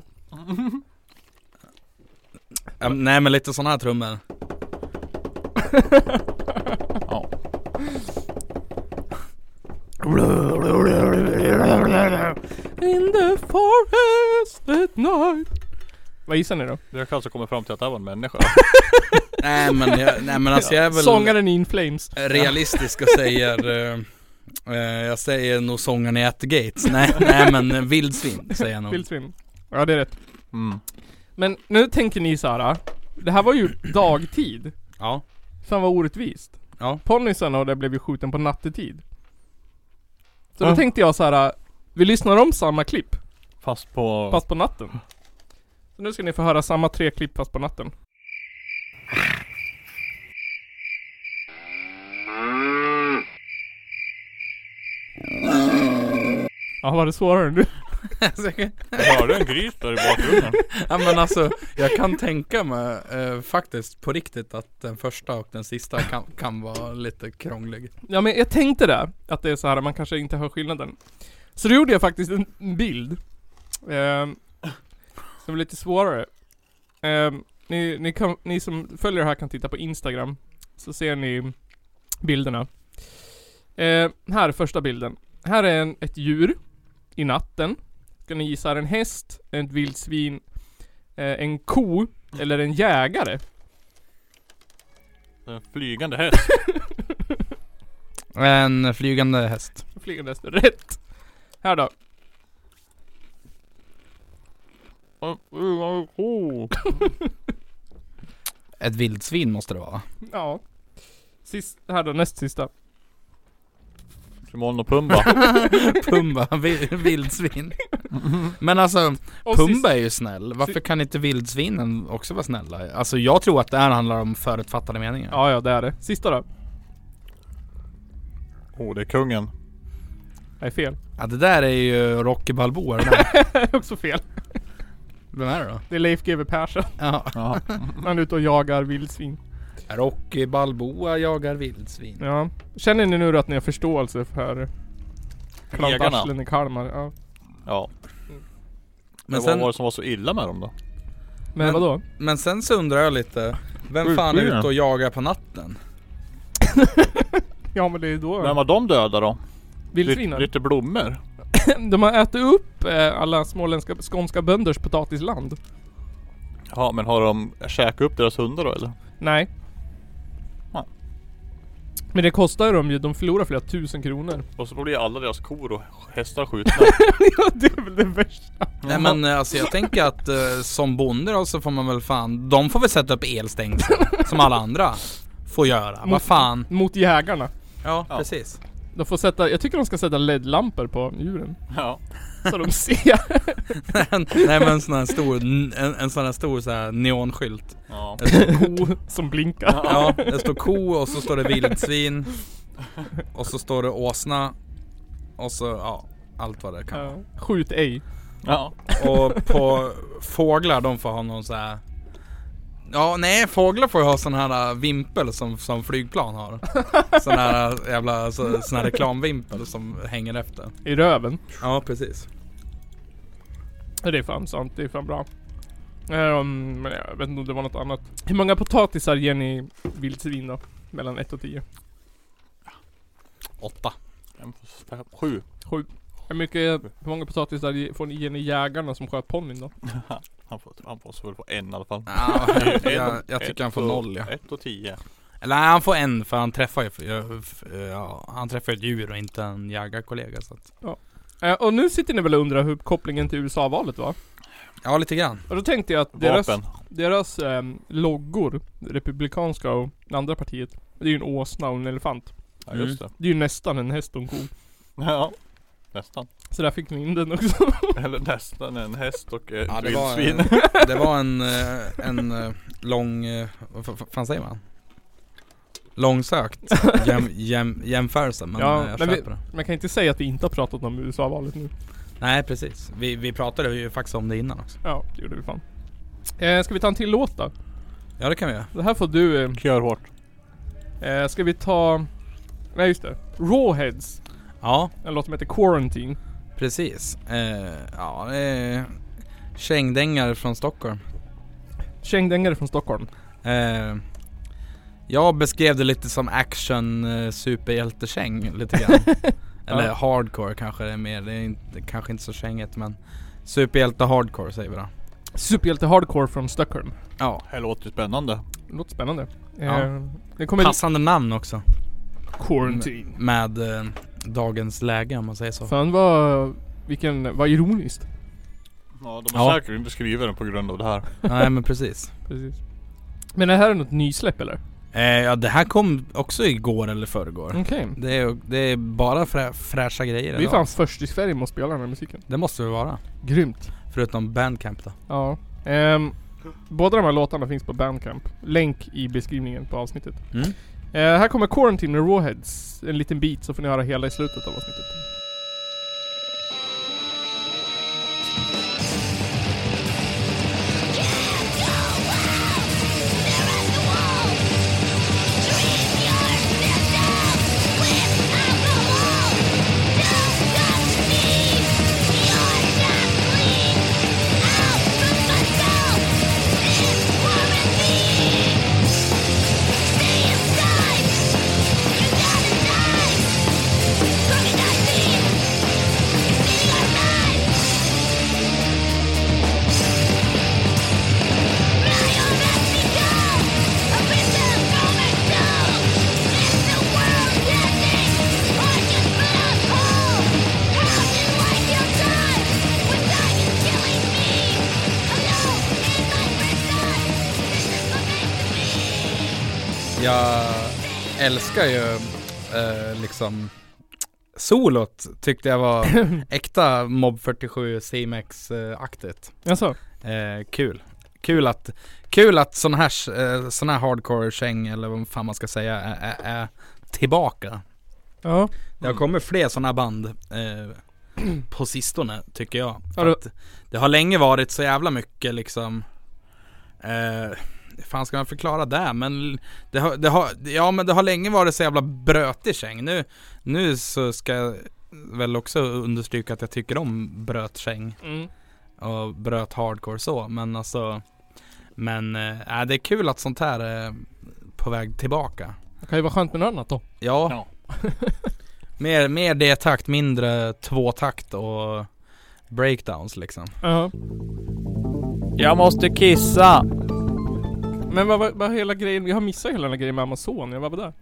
Speaker 2: Ja, men- nej men lite sådana här trummor.
Speaker 3: In the forest at night. Vad gissar ni då?
Speaker 4: Jag kanske kommer fram till att det här var en människa.
Speaker 2: Nej men, jag, nej, men alltså jag är väl...
Speaker 3: Sångaren i In Flames.
Speaker 2: realistisk och säger eh, eh, Jag säger nog sångaren i At the Gates Nej, nej men eh, vildsvin säger jag nog
Speaker 3: Vildsvin. Ja, det är rätt.
Speaker 4: Mm.
Speaker 3: Men nu tänker ni så här. ah. Det här var ju dagtid.
Speaker 2: Ja
Speaker 3: Som var orättvist.
Speaker 2: Ja.
Speaker 3: Ponnysarna och det blev ju skjuten på nattetid. Så då
Speaker 4: Ja.
Speaker 3: tänkte jag så här. äh, Vi lyssnar om samma klipp,
Speaker 4: Fast på...
Speaker 3: fast på natten. Så nu ska ni få höra samma tre klipp fast på natten. Ja, var det svårare än du?
Speaker 4: Jag hörde en gris där i bakgrunden.
Speaker 2: Ja men alltså jag kan tänka mig eh, faktiskt på riktigt att den första och den sista kan, kan vara lite krånglig
Speaker 3: Ja men jag tänkte det, att det är så här man kanske inte hör skillnaden. Så då gjorde jag faktiskt en en bild. Ehm, som är lite svårare. Ehm, ni, ni, kan, ni som följer det här kan titta på Instagram. Så ser ni bilderna. Ehm, här är första bilden. Här är en, ett djur. I natten. Ska ni gissa, är det en häst, ett vildsvin, eh, en ko eller en jägare?
Speaker 4: En flygande häst.
Speaker 2: En flygande häst
Speaker 3: Flygande häst, rätt! Här då.
Speaker 2: Ett vildsvin måste det vara
Speaker 3: Ja. Sist, här då, näst sista.
Speaker 4: Timon och Pumba.
Speaker 2: Pumba, vi- vildsvin Men alltså
Speaker 3: Och sist,
Speaker 2: Pumba är ju snäll, varför kan inte vildsvinen också vara snälla? Alltså jag tror att det här handlar om förutfattade meningar
Speaker 3: ja, ja det är det. Sista då.
Speaker 4: Åh, Oh, det är kungen.
Speaker 3: Nej, fel.
Speaker 2: Ja det där är ju Rocky Balboa det där.
Speaker 3: Det är också fel.
Speaker 2: Vem är det då?
Speaker 3: Det är Leif GW Persson.
Speaker 2: Ja.
Speaker 4: Jaha.
Speaker 3: Han är ute och jagar vildsvin.
Speaker 2: Rocky Balboa jagar vildsvin.
Speaker 3: Ja. Känner ni nu då att ni har förståelse för
Speaker 4: Jägarna.
Speaker 3: klantarslen i Kalmar? Ja.
Speaker 4: Ja.
Speaker 2: Men
Speaker 4: Men
Speaker 2: sen-
Speaker 4: vad var det som var så illa med dem då?
Speaker 3: Men,
Speaker 2: Men-
Speaker 3: vadå?
Speaker 2: Men sen så undrar jag lite, vem fan är ute och jagar på natten?
Speaker 3: Ja men det är
Speaker 4: Vem
Speaker 3: då
Speaker 4: var de döda då? Lite,
Speaker 3: vildsvinen.
Speaker 4: lite blommor?
Speaker 3: De har ätit upp eh, alla småländska, skånska bönders potatisland.
Speaker 4: Ja, men har de käkat upp deras hundar då eller?
Speaker 3: Nej.
Speaker 4: Ja.
Speaker 3: Men det kostar ju dem ju, de förlorar flera tusen kronor.
Speaker 4: Och så blir alla deras kor och hästar skjutna.
Speaker 3: ja det är väl det värsta.
Speaker 2: Nej men eh, alltså jag tänker att eh, som bonde då så får man väl fan, de får väl sätta upp elstängsel som alla andra får göra. Vad fan.
Speaker 3: Mot jägarna.
Speaker 2: Ja,
Speaker 4: Ja.
Speaker 2: precis.
Speaker 3: De får sätta, jag tycker de ska sätta LED-lampor på djuren.
Speaker 4: ja.
Speaker 3: Så de ser.
Speaker 2: Nej men en sån här stor, en, en sån här stor så här neonskylt.
Speaker 4: ja.
Speaker 2: Det står ko,
Speaker 3: som blinkar.
Speaker 2: ja det står ko och så står det vildsvin. Och så står det åsna. Och så ja, allt vad det kan vara.
Speaker 3: Ja. Skjut ej.
Speaker 4: Ja.
Speaker 2: Och på fåglar de får ha någon så här. Ja nej fåglar får ju ha sån här äh, vimpel som, som flygplan har. Sån här äh, jävla så, sån här reklamvimpel som hänger efter.
Speaker 3: I röven.
Speaker 2: Ja precis.
Speaker 3: Ja, Det är fan sant, det är fan bra. Ehm, men jag vet inte om det var något annat. Hur många potatisar ger ni vildsvin då? Mellan 1 och 10?
Speaker 2: Åtta.
Speaker 4: En, fem, Sju.
Speaker 3: 7. Hur, mycket, hur många potatisar ge- får ni, ger ni jägarna som sköt ponnyn då?
Speaker 4: Han får, han får så väl få en i alla fall.
Speaker 2: Ja, jag, jag
Speaker 4: Ett
Speaker 2: tycker han får
Speaker 4: och-
Speaker 2: noll ja.
Speaker 4: Ett och tio.
Speaker 2: Eller nej, han får en för han träffar ju, ja, f- ja, han träffar ett djur och inte en jägarkollega så att,
Speaker 3: Eh, och nu sitter ni väl och undrar hur kopplingen till USA-valet var?
Speaker 2: Ja lite grann.
Speaker 3: Och då tänkte jag att deras,
Speaker 4: Vapen.
Speaker 3: deras ehm, loggor, republikanska och det andra partiet, det är ju en åsna och en elefant.
Speaker 4: Ja just
Speaker 2: Mm.
Speaker 4: det.
Speaker 3: Mm. Det är ju nästan en häst och en ko.
Speaker 4: Ja. Nästan.
Speaker 3: Så där fick ni in den också.
Speaker 4: Eller nästan en häst och ett
Speaker 2: Ja, det var,
Speaker 4: vildsvin.
Speaker 2: Det var en, eh, en eh, lång, eh, vad fa- fa- fan säger man? Långsökt jäm, jäm, jämförelse men
Speaker 3: Ja,
Speaker 2: eh, jag
Speaker 3: men
Speaker 2: köper det.
Speaker 3: Man kan inte säga att vi inte har pratat om USA-valet nu.
Speaker 2: Nej precis, vi, vi pratade ju faktiskt om det innan också.
Speaker 3: Ja, det gjorde vi fan. Eh, ska vi ta en till låt då?
Speaker 2: Ja det kan vi göra.
Speaker 3: Det här får du... eh,
Speaker 4: Kör hårt.
Speaker 3: Eh, ska vi ta... Nej just det. Rawheads.
Speaker 2: Ja
Speaker 3: En låt som heter Quarantine.
Speaker 2: precis. Eh, ja, eh, kängdängare från Stockholm.
Speaker 3: Kängdängare från Stockholm.
Speaker 2: Eh, jag beskrev det lite som action eh, superhjältekäng lite grann. Eller
Speaker 3: Ja.
Speaker 2: hardcore kanske det är mer, det är inte, kanske inte så kängigt men Superhjälte hardcore säger vi då.
Speaker 3: Superhjälte hardcore från Stockholm.
Speaker 2: Ja,
Speaker 4: Det här låter ju spännande.
Speaker 3: Låter spännande. Eh,
Speaker 2: Ja.
Speaker 3: Det kommer...
Speaker 2: passande namn också.
Speaker 3: Quarantine.
Speaker 2: Med eh, dagens läge om man säger så.
Speaker 3: Fan vad... Vilken... Vad ironiskt.
Speaker 4: Ja de har
Speaker 2: Ja.
Speaker 4: säkert inte skrivit den på grund av det här.
Speaker 2: Nej men precis.
Speaker 3: Precis. Men det här är något nysläpp eller?
Speaker 2: Eh, ja det här kom också igår eller förrgår.
Speaker 3: Okej.
Speaker 2: Det, är, det är bara frä, fräscha grejer
Speaker 3: Vi är
Speaker 2: idag.
Speaker 3: fan först i Sverige med att spela den här musiken.
Speaker 2: Det måste vi vara.
Speaker 3: Grymt.
Speaker 2: Förutom bandcamp då.
Speaker 3: Ja. Ehm, båda de här låtarna finns på Bandcamp. Länk i beskrivningen på avsnittet.
Speaker 2: Mm.
Speaker 3: Eh, här kommer Quarantine med Rawheads. En liten bit så får ni höra hela i slutet av avsnittet.
Speaker 2: Jag älskar ju eh, liksom Solot tyckte jag var äkta Mob 47 CMX-aktigt.
Speaker 3: Jaså?
Speaker 2: Eh, kul. Kul att, kul att sån här, eh, sån här hardcore-käng eller vad fan man ska säga är, är, är tillbaka.
Speaker 3: Ja.
Speaker 2: Det har kommit fler sådana band eh, på sistone tycker jag.
Speaker 3: Har
Speaker 2: För
Speaker 3: du-
Speaker 2: att det har länge varit så jävla mycket liksom eh, hur fan ska man förklara det? Men det har, det har, ja men det har länge varit så jävla brötig käng. Nu, nu så ska jag väl också understryka att jag tycker om brötkäng
Speaker 3: Mm.
Speaker 2: och bröt hardcore så men alltså Men eh, äh, det är kul att sånt här är på väg tillbaka.
Speaker 3: Det kan ju vara skönt med något annat då.
Speaker 2: Ja.
Speaker 4: Ja.
Speaker 2: mer, mer D-takt, mindre tvåtakt och breakdowns liksom.
Speaker 3: Ja.
Speaker 8: Jag måste kissa!
Speaker 3: Men vad var hela grejen? Jag har missat hela den här grejen med Amazon. Jag var där.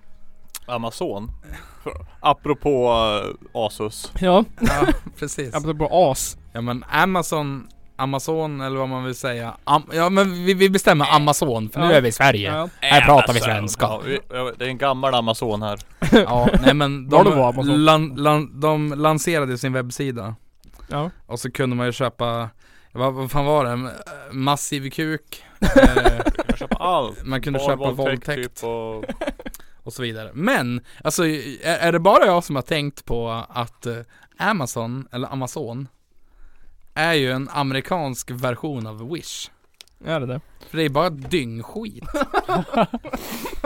Speaker 4: Amazon. För- Apropå eh, Asus.
Speaker 3: Ja,
Speaker 2: Ja, precis.
Speaker 3: apropå as.
Speaker 2: Ja men Amazon, Amazon eller vad man vill säga. Am- ja men vi, vi bestämmer Amazon för nu
Speaker 3: Ja.
Speaker 2: är vi i Sverige.
Speaker 3: Ja.
Speaker 2: Här pratar vi svenska.
Speaker 4: Ja, vi, ja, det är en gammal Amazon här.
Speaker 2: Ja, nej men
Speaker 3: Var
Speaker 2: de,
Speaker 3: det var Amazon?
Speaker 2: lan, lan, de lanserade sin webbsida.
Speaker 3: Ja.
Speaker 2: Och så kunde man ju köpa, vad, vad fan var det? M- Massiv kuk. eh,
Speaker 4: Man köper allt.
Speaker 2: man kunde
Speaker 4: Barn,
Speaker 2: köpa våldtäkt
Speaker 4: typ och...
Speaker 2: och så vidare. Men, alltså är, är det bara jag som har tänkt på att eh, Amazon, eller Amazon, är ju en amerikansk version av Wish.
Speaker 3: Är det det?
Speaker 2: För det är bara dyngskit.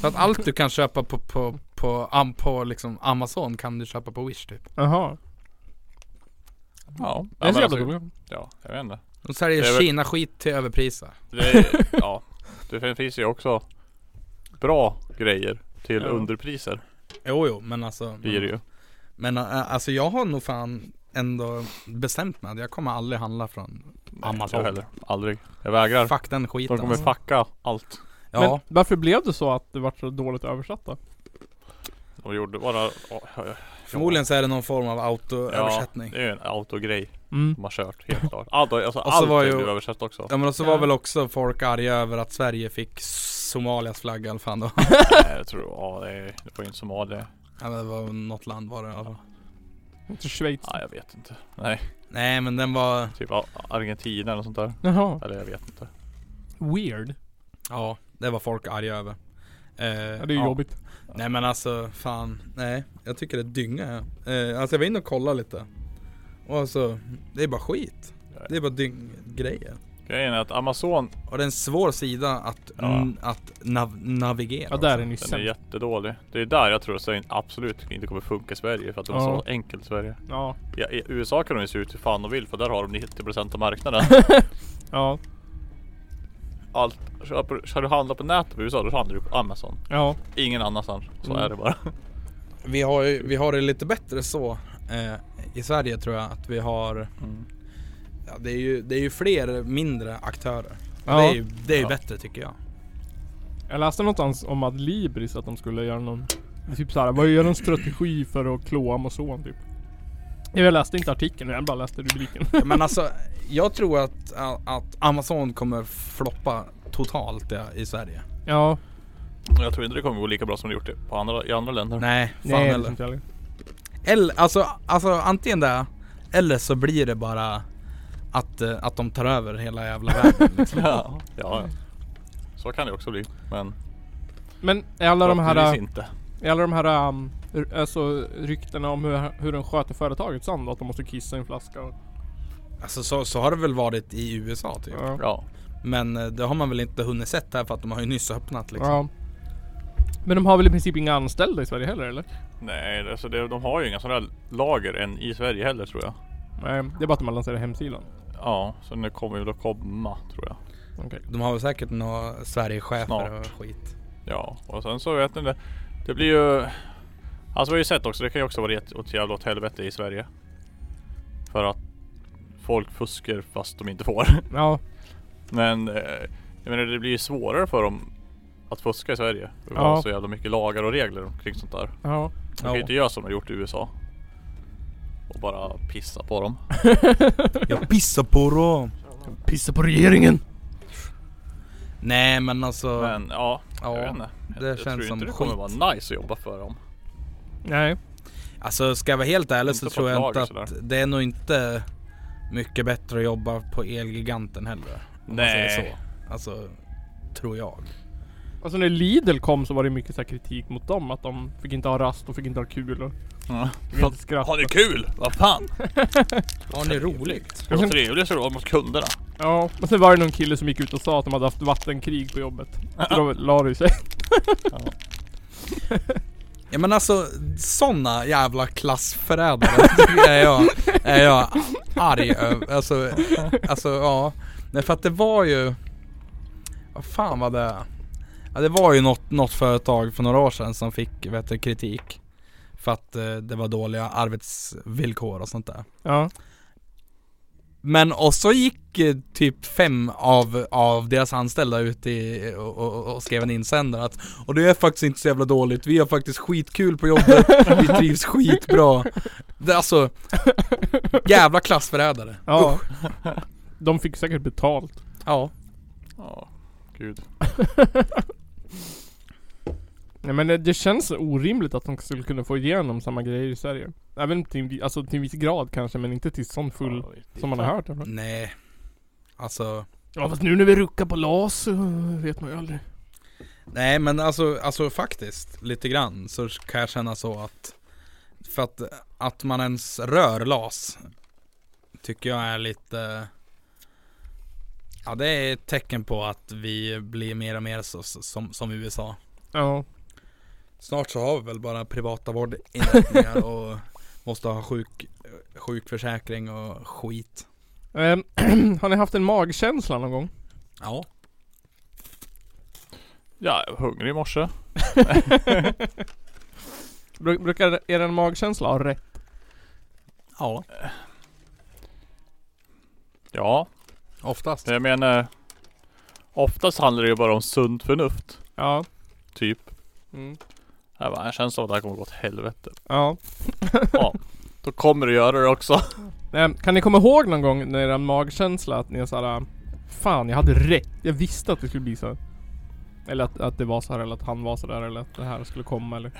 Speaker 2: Så att allt du kan köpa på, på, på, am- på liksom Amazon kan du köpa på Wish typ.
Speaker 3: Jaha.
Speaker 4: Ja.
Speaker 3: Det är så jävla
Speaker 4: men alltså,
Speaker 3: roligt.
Speaker 4: ja, jag vet inte.
Speaker 2: De
Speaker 4: Det är
Speaker 2: säljer
Speaker 4: väl-
Speaker 2: Kina-skit till överpriser.
Speaker 4: Det, är- ja. det finns ju också bra grejer till
Speaker 3: Ja.
Speaker 4: underpriser.
Speaker 2: Jo, jo, men alltså.
Speaker 4: Det är det ju.
Speaker 2: Men ä, alltså jag har nog fan ändå bestämt mig att jag kommer aldrig handla från
Speaker 4: Jag
Speaker 2: Amazon.
Speaker 4: heller. Aldrig. Jag vägrar.
Speaker 2: Fuck den skiten.
Speaker 4: De kommer
Speaker 2: Alltså.
Speaker 4: fucka allt.
Speaker 2: Ja,
Speaker 3: Men varför blev det så att det vart så dåligt översatt då?
Speaker 4: De gjorde bara... ja, ja.
Speaker 2: förmodligen så är det någon form av autoöversättning.
Speaker 4: Ja, det är ju en autogrej
Speaker 3: Mm.
Speaker 4: de har kört helt klart. Allt, alltså,
Speaker 2: så
Speaker 4: allt
Speaker 2: var
Speaker 4: var
Speaker 2: ju-
Speaker 4: ju översatt också.
Speaker 2: Ja men så
Speaker 3: Ja.
Speaker 2: var väl också folk arga över att Sverige fick Somalias flagga eller fan då.
Speaker 4: Nej, jag tror, ja det, är, det var ju inte Somalia.
Speaker 2: Ja, men det var något land var det i alla fall.
Speaker 3: Till Schweiz?
Speaker 4: Nej jag vet inte. Nej,
Speaker 2: Nej men den var,
Speaker 4: typ A- Argentina eller sånt där.
Speaker 3: Jaha.
Speaker 4: Eller jag vet inte.
Speaker 3: Weird.
Speaker 2: ja det var folk arga över. Eh,
Speaker 3: Ja, det är ju jobbigt.
Speaker 2: Nej men alltså fan, nej. Jag tycker det är dynga. ja. Eh, alltså jag var inne och kollade lite. Och alltså, det är bara skit. Det är bara dynggrejer.
Speaker 4: Grejen är att Amazon, den
Speaker 2: Och det är en svår sida att,
Speaker 4: Ja.
Speaker 2: n- att nav- navigera.
Speaker 3: Ja, där är
Speaker 2: också.
Speaker 3: ni
Speaker 4: är
Speaker 3: sämst.
Speaker 4: jättedålig. Det är där jag tror att det absolut inte kommer funka i Sverige för att de är
Speaker 3: Ja.
Speaker 4: så enkelt i Sverige.
Speaker 3: Ja.
Speaker 4: Ja, I USA kan de ju se ut hur fan de vill för där har de 90% av marknaden.
Speaker 3: Ja.
Speaker 4: Allt, köper, ska du handla på nätet i USA då handlar du på Amazon.
Speaker 3: Ja.
Speaker 4: Ingen annanstans. Så
Speaker 3: Mm.
Speaker 4: är det bara.
Speaker 2: vi, har, ju- vi har det lite bättre så eh, i Sverige tror jag att vi har
Speaker 3: Mm.
Speaker 2: ja, det, är ju, det är ju fler mindre aktörer.
Speaker 3: Ja.
Speaker 2: Det är ju, det är ju
Speaker 4: Ja.
Speaker 2: bättre tycker jag.
Speaker 3: Jag läste någonstans om att Libris, att de skulle göra någon... Typ såhär, vad gör en strategi för att klå Amazon typ? Jag läste inte artikeln, jag bara läste rubriken.
Speaker 2: Men alltså, jag tror att, att Amazon kommer floppa totalt ja, i Sverige.
Speaker 3: Ja,
Speaker 4: Jag tror inte det kommer gå lika bra som det gjort i- på andra, i andra länder.
Speaker 2: Nej, fan
Speaker 3: nej, det är
Speaker 2: eller.
Speaker 3: inte heller.
Speaker 2: eller alltså, alltså antingen det, eller så blir det bara att, eh, att de tar över hela jävla världen. liksom.
Speaker 4: Ja, ja. Så kan det också bli. Men
Speaker 3: Men är alla de här...
Speaker 4: förhoppningsvis inte.
Speaker 3: Är alla de här um, r- alltså, ryktena om hur, hur de sköter företaget sann då? Att de måste kissa i en flaska? och-
Speaker 2: Alltså så, så har det väl varit i USA typ.
Speaker 3: Ja.
Speaker 4: Ja.
Speaker 2: Men eh, det har man väl inte hunnit sett här för att de har ju nyss öppnat liksom.
Speaker 3: ja. Men de har väl i princip inga anställda i Sverige heller eller?
Speaker 4: Nej, alltså det, de har ju inga sådana där lager än i Sverige heller tror jag.
Speaker 3: Nej, det är bara att de har lanserat hemsidan.
Speaker 4: Ja, så nu kommer väl att komma tror jag.
Speaker 3: Okej.
Speaker 2: De har väl säkert några Sverigechefer och
Speaker 4: Snart.
Speaker 2: skit.
Speaker 4: Ja, och sen så vet ni det. Det blir ju... Alltså vi har ju sett också, det kan ju också vara rätt åt jävla åt helvete i Sverige. För att folk fuskar fast de inte får.
Speaker 3: Ja,
Speaker 4: Men eh, jag menar det blir ju svårare för dem att fuska i Sverige. Det
Speaker 3: Ja.
Speaker 4: har så jävla mycket lagar och regler kring sånt där.
Speaker 3: ja.
Speaker 4: De kan ju
Speaker 2: Ja.
Speaker 4: inte göra som de har gjort i USA. Och bara pissa på dem.
Speaker 2: Jag pissar på dem!
Speaker 3: Pissa på regeringen!
Speaker 2: Nej men alltså.
Speaker 4: Men ja,
Speaker 2: Ja,
Speaker 4: jag vet inte. Jag,
Speaker 2: det
Speaker 4: jag
Speaker 2: känns
Speaker 4: tror inte
Speaker 2: som
Speaker 4: det kommer
Speaker 2: skit.
Speaker 4: vara nice att jobba för dem.
Speaker 3: Nej.
Speaker 2: Alltså ska jag vara helt ärlig
Speaker 4: Inte
Speaker 2: så
Speaker 4: fått
Speaker 2: tror jag
Speaker 4: lag
Speaker 2: inte
Speaker 4: och
Speaker 2: att det är nog inte mycket bättre att jobba på Elgiganten heller. Om man
Speaker 4: Nej.
Speaker 2: säger så. Alltså, tror jag.
Speaker 3: Alltså när Lidl kom så var det mycket så här kritik mot dem. Att de fick inte ha rast och fick inte ha kul och
Speaker 4: Mm.
Speaker 3: fick inte skratta.
Speaker 4: Har ni kul? Vad fan?
Speaker 2: Har ni roligt?
Speaker 4: Ska det vara trevligt så det vara mot kunderna.
Speaker 3: Ja, och sen var det någon kille som gick ut och sa att de hade haft vattenkrig på jobbet. Så då la det sig.
Speaker 2: Ja men alltså, såna jävla klassförrädare tycker jag är jag, är jag arg över. Alltså, alltså ja. Nej för att det var ju... Vad fan var det? Ja, det var ju något, något företag för några år sedan som fick vet du, kritik. För att eh, det var dåliga arbetsvillkor och sånt där.
Speaker 3: Ja.
Speaker 2: Men och så gick eh, typ fem av, av deras anställda ut i, och, och, och skrev en insändare att Och det är faktiskt inte så jävla dåligt, vi har faktiskt skitkul på jobbet, vi trivs skitbra det, är Alltså, jävla klassförrädare
Speaker 3: Ja. De fick säkert betalt.
Speaker 2: Ja,
Speaker 4: Ja, gud.
Speaker 3: Nej men det, det känns orimligt att de skulle kunna få igenom samma grejer i Sverige. Även till, alltså, till en viss grad kanske men inte till sån full
Speaker 4: Ja, det-
Speaker 3: som man har hört. eller?
Speaker 2: nej Alltså
Speaker 3: Ja fast nu när vi ruckar på LAS så vet man ju aldrig.
Speaker 2: Nej men alltså, alltså faktiskt lite grann så kan jag känna så att För att, att man ens rör LAS Tycker jag är lite Ja det är ett tecken på att vi blir mer och mer så, så- som, som USA
Speaker 3: Ja.
Speaker 2: Snart så har vi väl bara privata vårdinrättningar och måste ha sjuk, sjukförsäkring och skit
Speaker 3: Ehm, har ni haft en magkänsla någon gång?
Speaker 2: Ja
Speaker 4: Ja, jag var hungrig i morse.
Speaker 3: Bru- brukar er en magkänsla ha rätt?
Speaker 2: Ja
Speaker 4: Ja,
Speaker 2: Oftast
Speaker 4: men jag menar. Oftast handlar det ju bara om sunt förnuft.
Speaker 3: Ja.
Speaker 4: Typ.
Speaker 3: Mm.
Speaker 4: Jag bara, jag känns av att det här kommer gå åt helvete.
Speaker 3: Ja.
Speaker 4: Då kommer det göra det också.
Speaker 3: Ehm, kan ni komma ihåg någon gång när er magkänsla att ni är såhär Fan jag hade rätt. Jag visste att det skulle bli så. här." Eller att, att det var så här eller att han var sådär eller att det här skulle komma eller.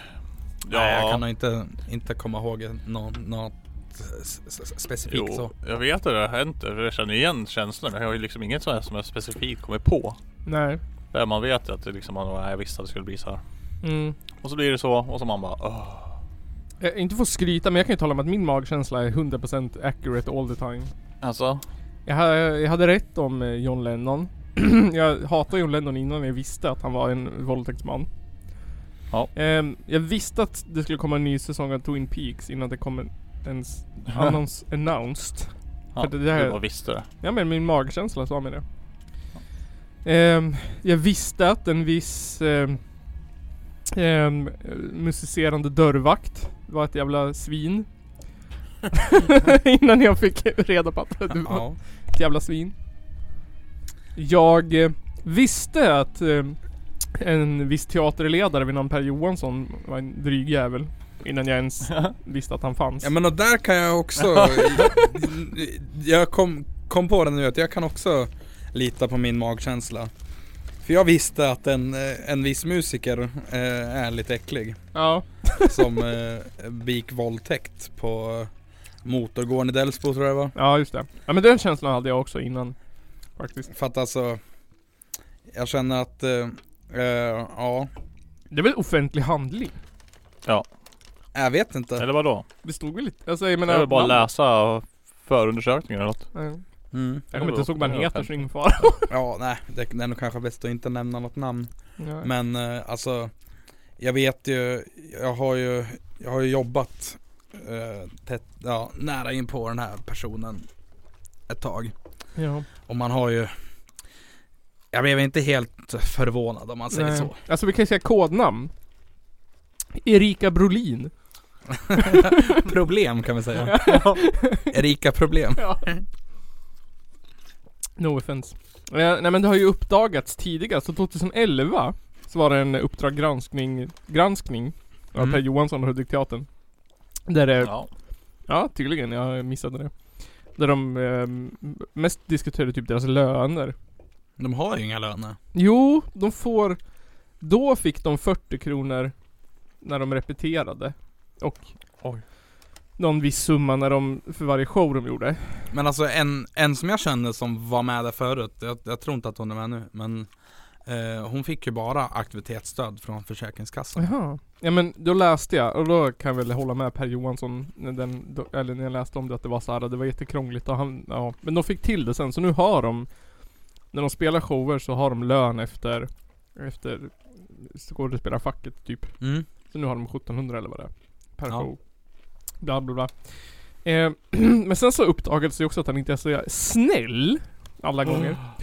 Speaker 4: Ja,
Speaker 2: Nej, jag kan nog inte, inte komma ihåg någon, något s- s- specifikt
Speaker 4: jo,
Speaker 2: så
Speaker 4: jag vet att det har hänt. Jag känner igen känslan. Jag har ju liksom inget sånt här som jag specifikt kommer på.
Speaker 3: Nej.
Speaker 4: Där man vet att det liksom, man, "Nej, jag visste att det skulle bli så här.
Speaker 3: Mm.
Speaker 4: Och så blir det så och så man bara "Åh."
Speaker 3: Jag, Eh, inte för att skryta men jag kan ju tala om att min magkänsla är 100% accurate all the time.
Speaker 4: Alltså?
Speaker 3: Jag, ha- jag hade rätt om eh, John Lennon. jag hatade John Lennon innan jag visste att han var en våldtäktsman.
Speaker 4: Ja.
Speaker 3: Ehm, jag visste att det skulle komma en ny säsong av Twin Peaks innan det kom en, ens annons, announced.
Speaker 4: Ja,
Speaker 3: För det där-
Speaker 4: Du bara visste det.
Speaker 3: Ja men min magkänsla sa mig det. Ehm, jag visste att en viss ehm, ehm, musicerande dörrvakt var ett jävla svin. Innan jag fick reda på att du var
Speaker 2: Ja.
Speaker 3: ett jävla svin. Jag eh, visste att eh, en viss teaterledare vid namn Per Johansson var en dryg jävel. Innan jag ens visste att han fanns.
Speaker 2: Ja men och där kan jag också Jag kom, kom på det nu att jag kan också lita på min magkänsla För jag visste att en, eh, en viss musiker eh, är lite äcklig
Speaker 3: ja.
Speaker 2: Som eh, begick våldtäkt på motorgården i Delsbo tror jag det var
Speaker 3: ja, just det. Ja men den känslan hade jag också innan. Faktiskt.
Speaker 2: För att alltså Jag känner att eh, eh, Ja,
Speaker 3: Det är väl offentlig handling?
Speaker 2: jag vet inte
Speaker 4: Eller vadå?
Speaker 3: Det stod väl lite? Alltså jag
Speaker 4: Men jag
Speaker 3: menar...
Speaker 4: vill bara
Speaker 3: man-
Speaker 4: läsa förundersökningen eller något.
Speaker 3: Nej.
Speaker 2: mm.
Speaker 3: Jag kommer inte ihåg vad han
Speaker 4: Det var
Speaker 3: heter så
Speaker 4: offentlig.
Speaker 3: ingen fara.
Speaker 2: Ja, nej det, det är nog kanske bäst att inte nämna något namn
Speaker 3: Nej.
Speaker 2: Men eh, alltså Jag vet ju Jag har ju Jag har ju jobbat eh, tätt, ja, Nära in på den här personen Ett tag
Speaker 3: Ja.
Speaker 2: Och man har ju Jag blev inte helt förvånad om man säger
Speaker 3: Nej.
Speaker 2: så
Speaker 3: Alltså vi kan ju säga kodnamn. Erika Brolin.
Speaker 2: Problem kan vi säga Erika problem
Speaker 3: No offense. Eh, nej men det har ju uppdagats tidigare, så 2011 så var det en Uppdrag granskning, granskning av
Speaker 2: Mm.
Speaker 3: Per Johansson och Hudik-teatern. Där det, ja.
Speaker 4: Ja.
Speaker 3: tydligen, jag missade det. Där de eh, mest diskuterade typ deras löner.
Speaker 2: De har ju inga löner
Speaker 3: Jo, de får... Då fick de 40 kronor när de repeterade. Och
Speaker 4: Oj.
Speaker 3: någon viss summa när de, för varje show de gjorde.
Speaker 2: Men alltså en, en som jag kände som var med där förut Jag, jag tror inte att hon är med nu men eh, Hon fick ju bara aktivitetsstöd från Försäkringskassan
Speaker 3: Jaha. Ja men då läste jag, och då kan jag väl hålla med Per Johansson, när den, då, eller när jag läste om det att det var så här, det var jättekrångligt och han, ja. Men de fick till det sen, så nu har de, när de spelar shower så har de lön efter, efter skådespelarfacket typ.
Speaker 2: mm.
Speaker 3: Så nu har de 1700 eller vad det är. Per
Speaker 2: Ja.
Speaker 3: show. Bla bla bla. Eh, men sen så uppdagades det ju också att han inte är så jävla snäll. Alla gånger.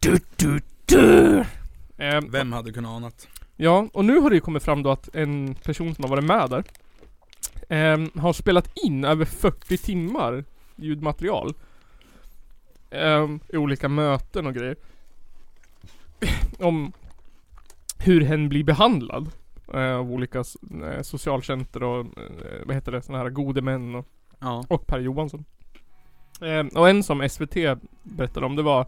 Speaker 3: Du, du, du. Eh,
Speaker 2: Vem hade kunnat anat?
Speaker 3: Ja, och nu har det ju kommit fram då att en person som har varit med där ehm, har spelat in över 40 timmar ljudmaterial. ehm, i olika möten och grejer. Om hur hen blir behandlad. eh, Av olika s- eh, socialtjänster och eh, vad heter det, sådana här gode män och
Speaker 2: Ja.
Speaker 3: och Per Johansson. Ehm, och en som SVT berättade om det var